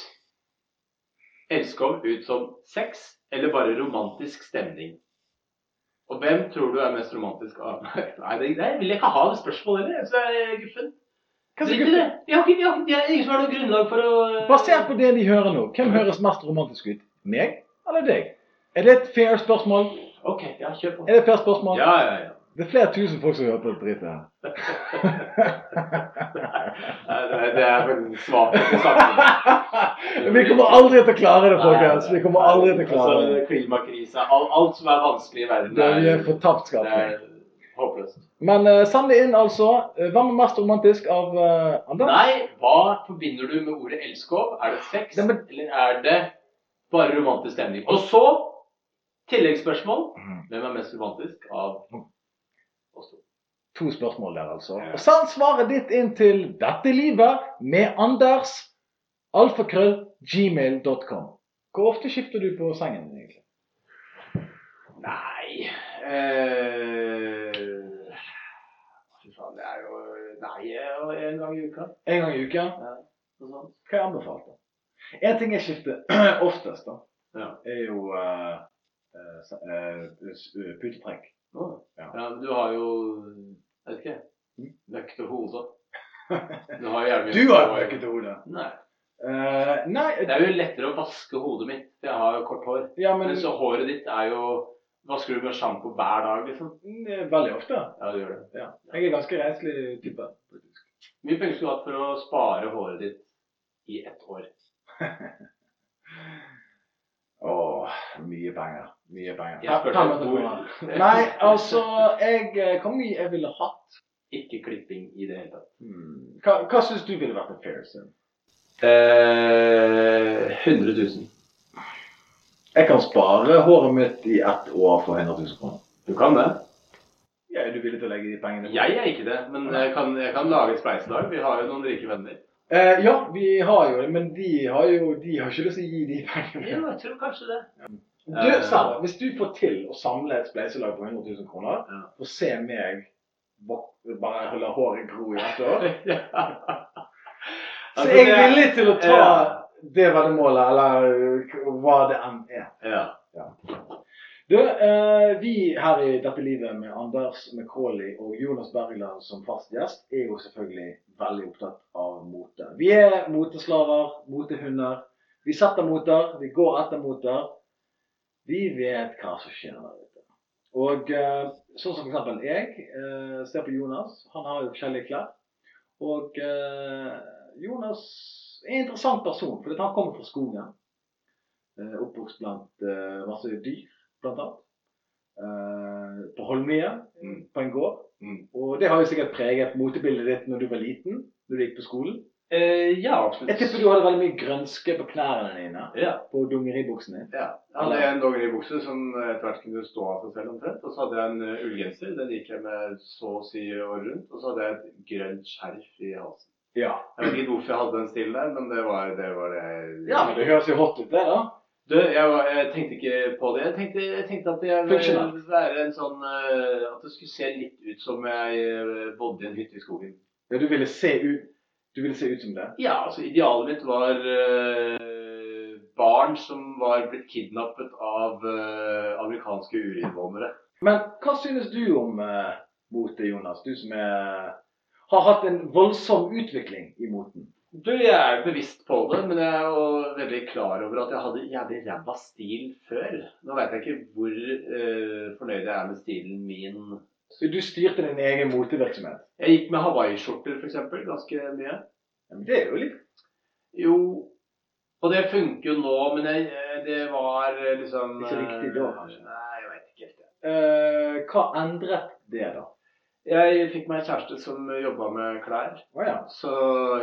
elskov ut som sex eller bare romantisk stemning? Og hvem tror du er mest romantisk av Nei, det, det vil jeg ikke ha det spørsmålet heller. Så det er guffen. Hva Drit sier i det. du? De har ikke, de har, ikke- de har ingen som har noe grunnlag for å Basert på det de hører nå, hvem høres mest romantisk ut? Meg eller deg? Er det et fair spørsmål? Ok, ja, kjør på. Er det et fair spørsmål? Ja, ja, ja. Det er flere tusen folk som hører på det dritet her. Nei, Det er, det er veldig svakt. å snakke om. Vi kommer aldri til å klare det, folkens. Vi kommer aldri til å klare Altså, det. klimakrisa, alt, alt som er vanskelig i verden, Det er- Vi er det fortaptskapte. er håpløst. Men eh, send det inn, altså. Eh, Hvem er mest romantisk av eh, Anders? Nei, hva forbinder du med ordet elskov? Er det sex, Nei, men- eller er det bare romantisk stemning? Og så, tilleggsspørsmål. Mhm. Hvem er mest romantisk av oss to? To spørsmål der, altså. Ja. Og send svaret ditt inn til Dette livet med Anders. Alfakrøll. Gmail.com. Hvor ofte skifter du på sengen, egentlig? Nei eh, Fy faen, det er jo Nei, eh, en gang i uka. En gang i uken? Noe sånt. Hva er anbefalt? da? En ting jeg skifter oftest, da, Ja. er jo eh, eh, s- eh, s- eh, putetrekk. Å, Ja. ja. men du har jo Jeg vet ikke. Nøkt og hode. Du har jo jævlig Du har møkket hodet. Nei. Eh, nei Det er jo lettere å vaske hodet mitt. for Jeg har jo kort hår. Ja, men Men så håret ditt er jo Vasker du med sjampo hver dag, liksom? mm, veldig ofte. Ja, du gjør det. Ja. Jeg er ganske renslig type. Hvor mye penger skulle du hatt for å spare håret ditt i ett år? Åh, mye penger. Mye penger. Jeg spurte Fem minutter hvor- kroner. Nei, altså, jeg eh, Hvor mye jeg ville hatt? Ikke klipping i det hele tatt. Hmm. Hva, hva syns du ville vært en fair sum? Eh, 100 000. Jeg kan spare håret mitt i ett år for 100 000 kroner. Du kan det. Ja, er du villig til å legge de pengene på? Jeg er ikke det, men jeg kan, jeg kan lage et spleiselag. Vi har jo noen rike venner. Eh, ja, vi har jo det, men de har jo de har ikke lyst til å gi de pengene. jeg tror kanskje det. Du, Sverre, hvis du får til å samle et spleiselag på 100 000 kroner, Ja. og se meg vok- bare la håret gro i ett år Så Altså, jeg det er er- villig til å ta Ja. det veddemålet, eller k- hva det enn er. Ja. Du, eh, vi her i Dette livet med Anders McCauley og Jonas Bergland som fast gjest, er jo selvfølgelig veldig opptatt av mote. Vi er moteslaver, motehunder. Vi setter moter, vi går etter moter. Vi vet hva som skjer der ute. Og eh, sånn som for eksempel jeg eh, ser på Jonas. Han har jo forskjellige klær. Og eh, Jonas er en interessant person, fordi han kommer fra skogen. Eh, oppvokst blant eh, masse dyr, blant annet. Eh, på Holmlia, Mm. på en gård. Mm. Og det har jo sikkert preget motebildet ditt når du var liten, når du gikk på skolen. Eh, ja, absolutt. Jeg tipper du hadde veldig mye grønske på knærne dine, Ja. på dungeribuksene. ja. Jeg hadde en dongeribukse som eh, etter hvert kunne stå av seg selv omtrent. Og så hadde jeg en eh, ullgenser. Den gikk jeg med så å si året rundt. Og så hadde jeg et grønt skjerf i halsen. Ja. Jeg vet ikke hvorfor jeg hadde den stilen der, men det var det, var det. ja, men det høres jo hot ut, det, da. Du, jeg, var, jeg tenkte ikke på det. Jeg tenkte, jeg tenkte at jeg ville Funksjonelt. være en sånn eh, At det skulle se litt ut som jeg eh, bodde i en hytte i skogen. Ja, du ville se ut Du ville se ut som det? Ja, altså idealet mitt var eh, barn som var blitt kidnappet av eh, amerikanske urinnvånere. Men hva synes du om eh, mote, Jonas? Du som er, har hatt en voldsom utvikling i moten. Du, jeg er bevisst på det, men jeg er jo veldig klar over at jeg hadde jævlig ræva stil før. Nå veit jeg ikke hvor eh, fornøyd jeg er med stilen min. Du styrte din egen motevirksomhet. Jeg gikk med hawaiiskjorter f.eks. ganske mye. Ja, men det er jo litt Jo, og det funker jo nå, men jeg, eh, det var eh, liksom Ikke riktig da, eh, kanskje? Nei, jeg vet ikke helt. jeg. eh, Hva endret det, da? Jeg fikk meg en kjæreste som jobba med klær. Å ja. Så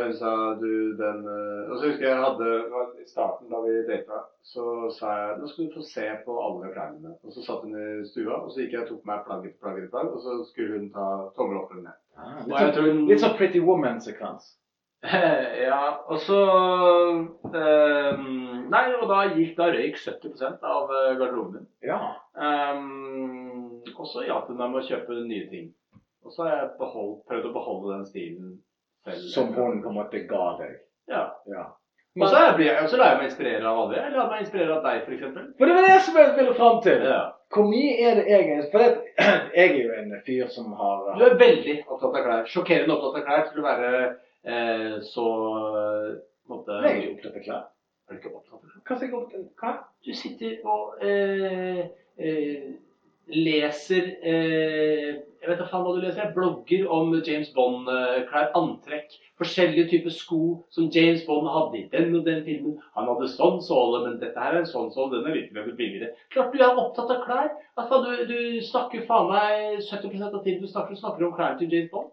hun sa du den eh, Og så husker jeg jeg hadde det var I starten, da vi data, så sa jeg nå skal du få se på alle klærne mine. Og så satt hun i stua, og så gikk jeg og tok meg plagg etter plagg, etter plagg, og så skulle hun ta tommel opp eller ned. Ah, Og jeg litt, tror sånn, hun- litt sånn Pretty Woman-sekvens. ja, og så ehm, Nei, og da gikk da røyk 70 av eh, garderoben min. Ja. Ehm, og så hjalp hun meg med å kjøpe nye ting. Og så har jeg beholdt, prøvd å beholde den stilen selv. Som hun på en måte ga deg. Ja. Ja. Og så er- blir jeg- og så lar jeg meg inspirere av andre. Jeg lar meg inspirere av deg, f.eks. For det var det som jeg ville fram til. Ja. Hvor mye er det egentlig? For det, jeg er jo en fyr som har Du er veldig opptatt av klær. Sjokkerende opptatt av klær til å være eh, så eh, på en måte, Jeg er jo opptatt av klær. Er du ikke opptatt av klær? Hva skal jeg opp til? Hva? Du sitter og eh, eh, leser eh, Jeg vet da faen hva du leser. jeg. Blogger om James Bond-klær. Antrekk. Forskjellige typer sko som James Bond hadde i den og den filmen. Han hadde sånn såle, men dette her er en sånn såle. Den er likevel billigere. Klart du er opptatt av klær. At faen, du, du snakker faen meg 70 av tiden du snakker, du snakker om klærne til James Bond.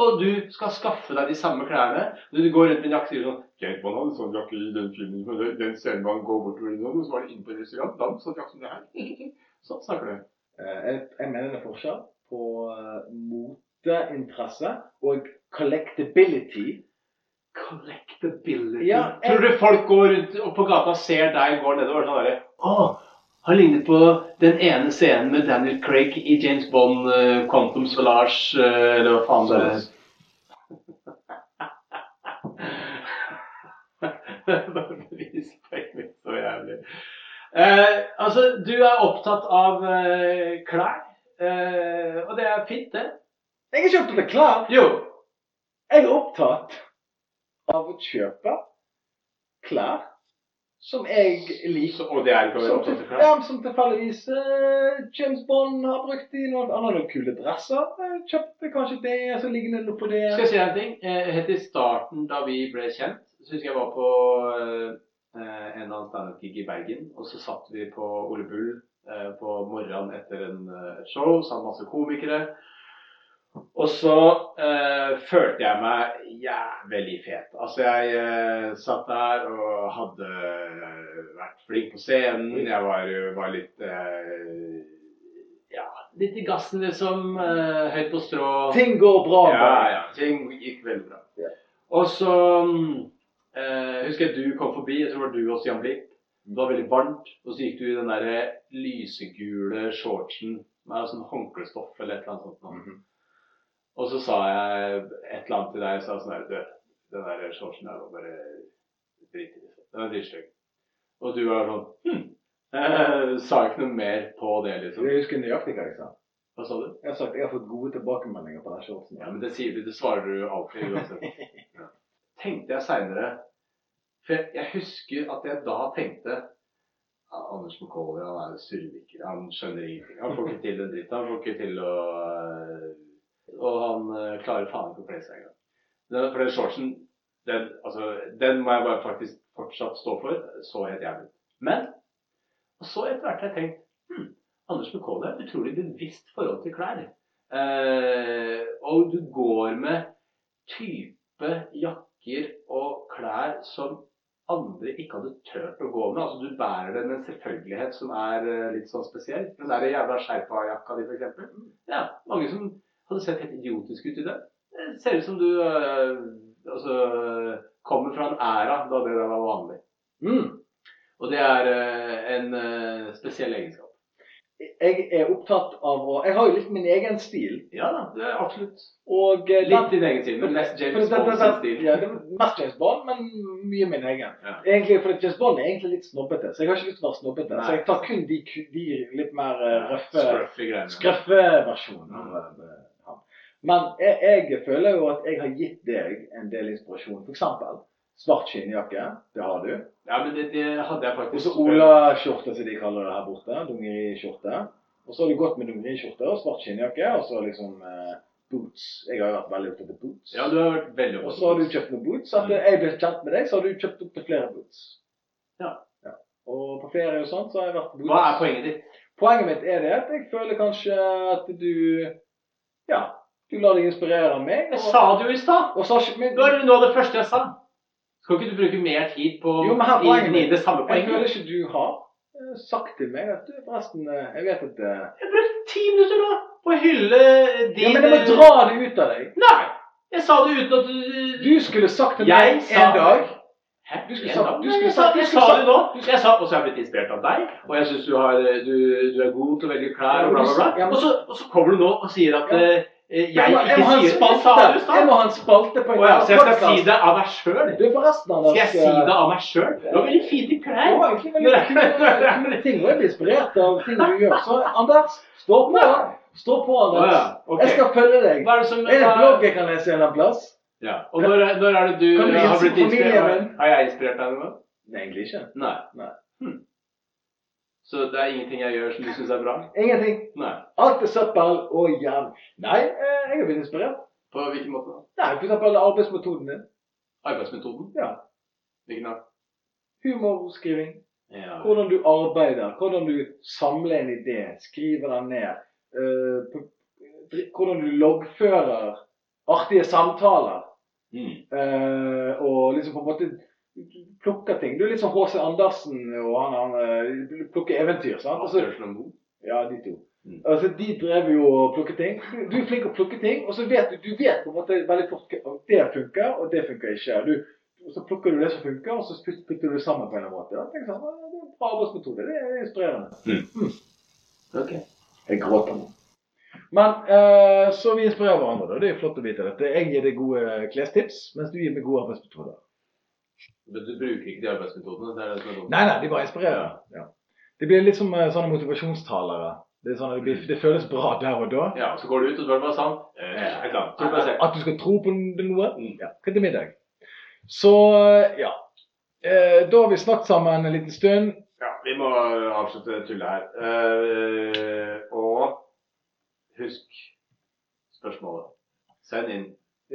Og du skal skaffe deg de samme klærne. Du går rundt med en jakke og sier sånn James Bond hadde sånn jakke i den filmen, men den- den scenen hvor han går bort til noen, og så var det inne på en restaurant, da satt jakken det her. Sånn snakker du. Eh, Jeg, jeg mener det er forskjell på eh, moteinteresse og collectability. Collectability. Ja, jeg- Tror du folk går rundt og på gata ser deg går nedover sånn derre Å, han ligner på den ene scenen med Daniel Craig i James Bond, eh, Quantum Solange, eh, eller hva faen det er. Det er bare bevispoenget mitt så jævlig. Eh, altså, du er opptatt av eh, klær. Eh, og det er fint, det. Jeg er ikke opptatt av klær. Jo. Jeg er opptatt av å kjøpe klær som jeg liker. Så, og det er ikke å være Som, opptatt av til- klær? ja, som tilfeldigvis eh, James Bond har brukt i noen Han har noen kule dresser. Jeg kjøpte kanskje det, så ligner det noe på det. Skal jeg si deg en ting? Eh, Helt i starten, da vi ble kjent, så husker jeg var på eh, eh, en eller annen standup-gig i Bergen. Og så satt vi på Ole Bull eh, på morgenen etter en, eh, et show sammen med masse komikere. Og så eh, følte jeg meg jævlig fet. Altså, jeg eh, satt der og hadde vært flink på scenen. Jeg var, var litt eh, Ja, litt i gassen, liksom. Eh, høyt på strå. Ting går bra. Ja, bare. ja. Ting gikk veldig bra. Ja. Og så mm, eh, husker jeg du kom forbi, jeg tror det var du også, Jan Blipp. Det var veldig varmt, og så gikk du i den der lysegule shortsen med sånn håndklestoff eller et eller annet sånt. nå. Mhm. Og så sa jeg et eller annet til deg, sa sånn her Du, den der shortsen der var bare drit i det. Den er dritstygg. Og du var sånn Hm. Eh, sa ikke noe mer på det, liksom. Jeg husker nøyaktig hva jeg sa. Hva sa du? Jeg har sagt jeg har fått gode tilbakemeldinger på den shortsen. Ja, men det sier du, det svarer du alltid uansett. Ja. Tenkte jeg seinere For jeg, jeg husker at jeg da tenkte ja, Anders McCauley, han er surviker. Han skjønner ingenting. Han får ikke til den dritten. Han får ikke til å øh, Og han øh, klarer faen ikke å kle seg engang. Den- For den shortsen, den, altså, den må jeg bare faktisk fortsatt stå for. Så helt jævlig. Men og så etter hvert har jeg tenkt hm, Anders McCauley er et utrolig bevisst forhold til klær. Eh, og du går med type jakker og klær som andre ikke hadde turt å gå med. Altså Du bærer det med en selvfølgelighet som er eh, litt sånn spesiell. Den der jævla sherpajakka di, f.eks. Ja, mange som hadde sett helt idiotisk ut i det. Det ser ut som du eh, altså, kommer fra en æra da det der var vanlig. Mm. Og det er eh, en eh, spesiell egenskap. jeg er opptatt av å Jeg har jo litt min egen stil. Ja da, det er absolutt Og eh, litt din egen stil, men mest for det- James det- Bond det- sin stil. Ja, det er mest James Bond, men mye min egen. Ja. Egentlig, for James Bond er egentlig litt snobbete, så jeg har ikke lyst til å være snobbete. Nei. Så jeg tar kun de, ku- de litt mer eh, røffe, Scruffy greiene. skrøffe-versjonen av eh, han. Men jeg, jeg føler jo at jeg har gitt deg en del inspirasjon. For eksempel svart skinnjakke. Det har du. Ja, men det, det hadde jeg Og faktisk. så olaskjorte, som de kaller det her borte. Dungeriskjorte. Og så har du gått med dungeriskjorte og svart skinnjakke, og så liksom eh, boots. Jeg har jo vært veldig opptatt av boots. Ja, du Mm. har vært veldig Og så har du kjøpt noen boots. Etter jeg ble kjent med deg, så har du kjøpt opp til flere boots. Ja. Og på ferie og sånt, så har jeg vært boots. Hva er poenget ditt? Poenget mitt er det at jeg føler kanskje at du Ja, du lar deg inspirere av meg. Jeg Og, sa det jo i stad! og så har ikke men- Det var jo noe av det første jeg sa. Skal ikke du bruke mer tid på Jo, men her er poenget i, i mitt. det samme Jeg føler poenget? ikke du har eh, sagt til meg at du forresten eh, Jeg vet at eh, Jeg brukte ti minutter nå på å hylle din Ja, men jeg må dra det ut av deg. Nei! Jeg sa det uten at du Du skulle sagt til Jeg meg sa- en dag Hæ? Du skulle Jeg sagt- sa- du Nei, skulle jeg sa- sagt- du Jeg skulle sa sagt- det nå. Jeg sa, og så er jeg blitt inspirert av deg. Og jeg syns du, har- du, du er god til å velge klær og bla, bla, Ja, bla. men- Og så, og så kommer du nå og sier at Ja. eh, jeg må, må ikke ha en sier det. Jeg sa spalte. det i Jeg stad. må ha en spalte på Å en ja, annen så jeg skal podcast. si det av meg sjøl? Du, forresten, Anders Skal jeg si det av meg sjøl? Du har veldig fine Du klær. har egentlig veldig kule- kule ting, og jeg blir inspirert av ting du gjør. Så Anders, stå på. Stå på, Å Anders. ja, ok. Jeg skal følge deg. Hva er det som Er det en blogg hva- jeg kan lese en eller annen plass? ja. Og når, er- når er det du Kan du har hilse blitt på familien inspirert? min? Har jeg inspirert deg noe? Nei, egentlig ikke. Nei. Nei. Hm. Så det er ingenting jeg gjør som du syns er bra? Ingenting. Nei. Alt er søppel og jern. Nei, eh, jeg har blitt inspirert. På hvilken måte? da? Nei, for eksempel arbeidsmetoden din. Arbeidsmetoden? Ja. Hvilken da? Humorskriving. Ja. Hvordan du arbeider, hvordan du samler en idé, skriver den ned. eh, på- hvordan du loggfører artige samtaler. Mm. eh, og liksom på en måte plukker ting. Du er litt sånn H.C. Andersen og han, han eh, plukker eventyr. sant? Altså, Avslører noe god. ja, de to. Mm. Altså, De drev jo og plukket ting. Du, du er flink til å plukke ting, og så vet du du vet på en måte veldig fort hva- det funker, og det funker ikke. Og Du, og så plukker du det som funker, og så put- putter du det sammen på en eller annen måte. Ja, tenk sånn, «Å, det er en bra arbeidsmetode. Det er inspirerende. Ok. Jeg gråter nå. Men eh, så vi inspirerer hverandre, da. Det er jo flott å vite dette. Jeg gir deg gode klestips, mens du gir meg gode arbeidsmetoder. Men du bruker ikke de arbeidsmetodene? Det er det som er dumt. Nei, nei, de bare inspirerer. Ja. Det blir litt som eh, sånne motivasjonstalere. Det, er sånn, at det, blir, det føles bra der og da. Ja, så går du ut og spør hva sa han? Eh, Ja. Jeg er klar. Tror du på deg selv? At du skal tro på noe. Mm. Ja. Hva til middag? Så ja. Eh, Da har vi snakket sammen en liten stund. Ja, vi må øh, avslutte tullet her. Eh, og husk spørsmålet. Send inn.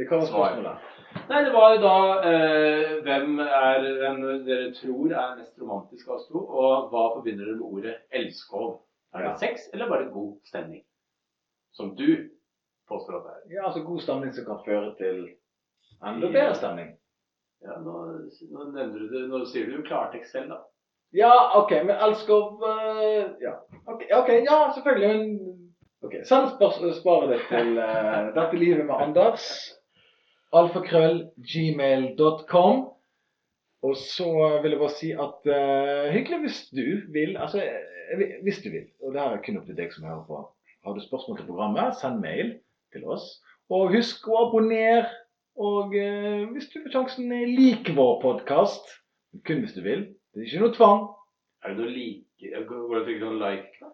Hva var spørsmålet? Nei, det var jo da eh, hvem er hvem dere tror er mest romantisk av oss to, og hva forbinder dere med ordet elskov? Er det Ja. sex eller bare god stemning? Som du påstår at det er. Ja, altså God stemning som kan føre til enda Ja. bedre stemning. Ja, nå, nå nevner du det, nå sier du jo klartekst selv, da. Ja, OK. Men elskov eh, Ja, ok, ok, ja selvfølgelig. Men ok, Send spørs- svaret ditt til eh, Dette livet med Anders. Alfakrøllgmail.com. Og så vil jeg bare si at eh, hyggelig hvis du vil. Altså, eh, hvis du vil. Og det her er kun opp til deg som hører på. Har du spørsmål til programmet, send mail til oss. Og husk å abonnere. Og eh, hvis du får sjansen, eh, lik vår podkast. Kun hvis du vil. Det er ikke noe tvang. Er det noe like Går det til sånn like?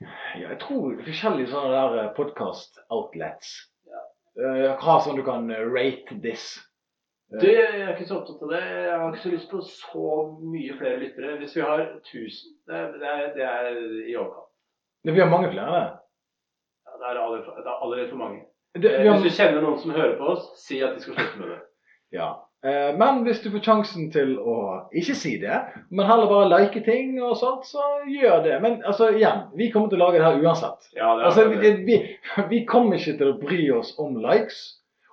Ja, jeg tror forskjellige sånne der podkast-outlets eh, har sånn du kan eh, rate this. Du, jeg er ikke så opptatt av det. Jeg har ikke så lyst på så mye flere lyttere. Hvis vi har 1000, det, er- det, er- det er i overkant. Men Vi har mange flere. Ja, Det er allerede for, det er allerede for mange. Det, Eh, vi Hvis har, du kjenner noen som hører på oss, si at de skal slutte med det. ja. Eh, Men hvis du får sjansen til å ikke si det, men heller bare like ting og sånt, så gjør det. Men altså, igjen, vi kommer til å lage det her uansett. Ja, det er Altså, akkurat det. vi, vi, vi kommer ikke til å bry oss om likes.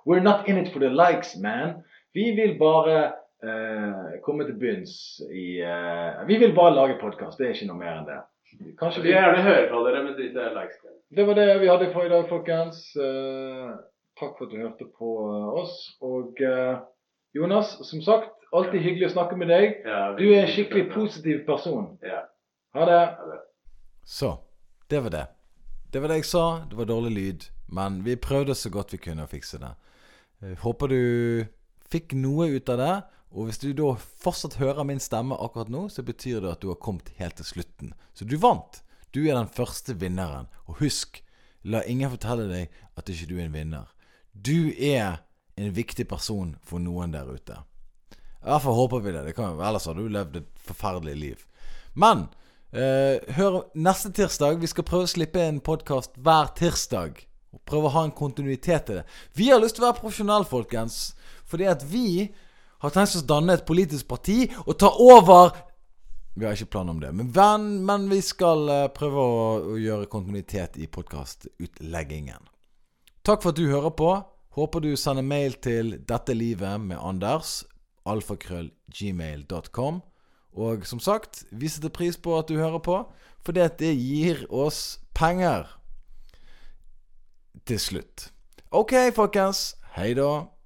We're not in it for the likes, man. Vi vil bare eh, komme til bunns i eh, Vi vil bare lage podkast. Det er ikke noe mer enn det. Kanskje Vi vi, vil gjerne høre fra dere, men drit i likes. det var det vi hadde for i dag, folkens. Eh, takk for at du hørte på oss. Og eh, Jonas, som sagt, alltid hyggelig å snakke med deg. Ja, Du er en skikkelig positiv person. Ja. Ha det. Så Det var det. Det var det jeg sa. Det var dårlig lyd. Men vi prøvde så godt vi kunne å fikse det. Jeg håper du fikk noe ut av det. Og hvis du da fortsatt hører min stemme akkurat nå, så betyr det at du har kommet helt til slutten. Så du vant. Du er den første vinneren. Og husk, la ingen fortelle deg at ikke du er en vinner. Du er en viktig person for noen der ute. I hvert fall håper vi det. det kan, jo- ellers har du levd et forferdelig liv. Men eh, hør neste tirsdag. Vi skal prøve å slippe en podkast hver tirsdag. Og prøve å ha en kontinuitet i det. Vi har lyst til å være profesjonelle, folkens. Fordi at vi har tenkt oss å danne et politisk parti og ta over Vi har ikke plan om det, men, men, men vi skal eh, prøve å, å gjøre kontinuitet i podkastutleggingen. Takk for at du hører på. Håper du sender mail til Dette livet med Anders. Alfakrøllgmail.com. Og som sagt, vi setter pris på at du hører på, for det det gir oss penger. Til slutt. Ok, folkens. Hei da.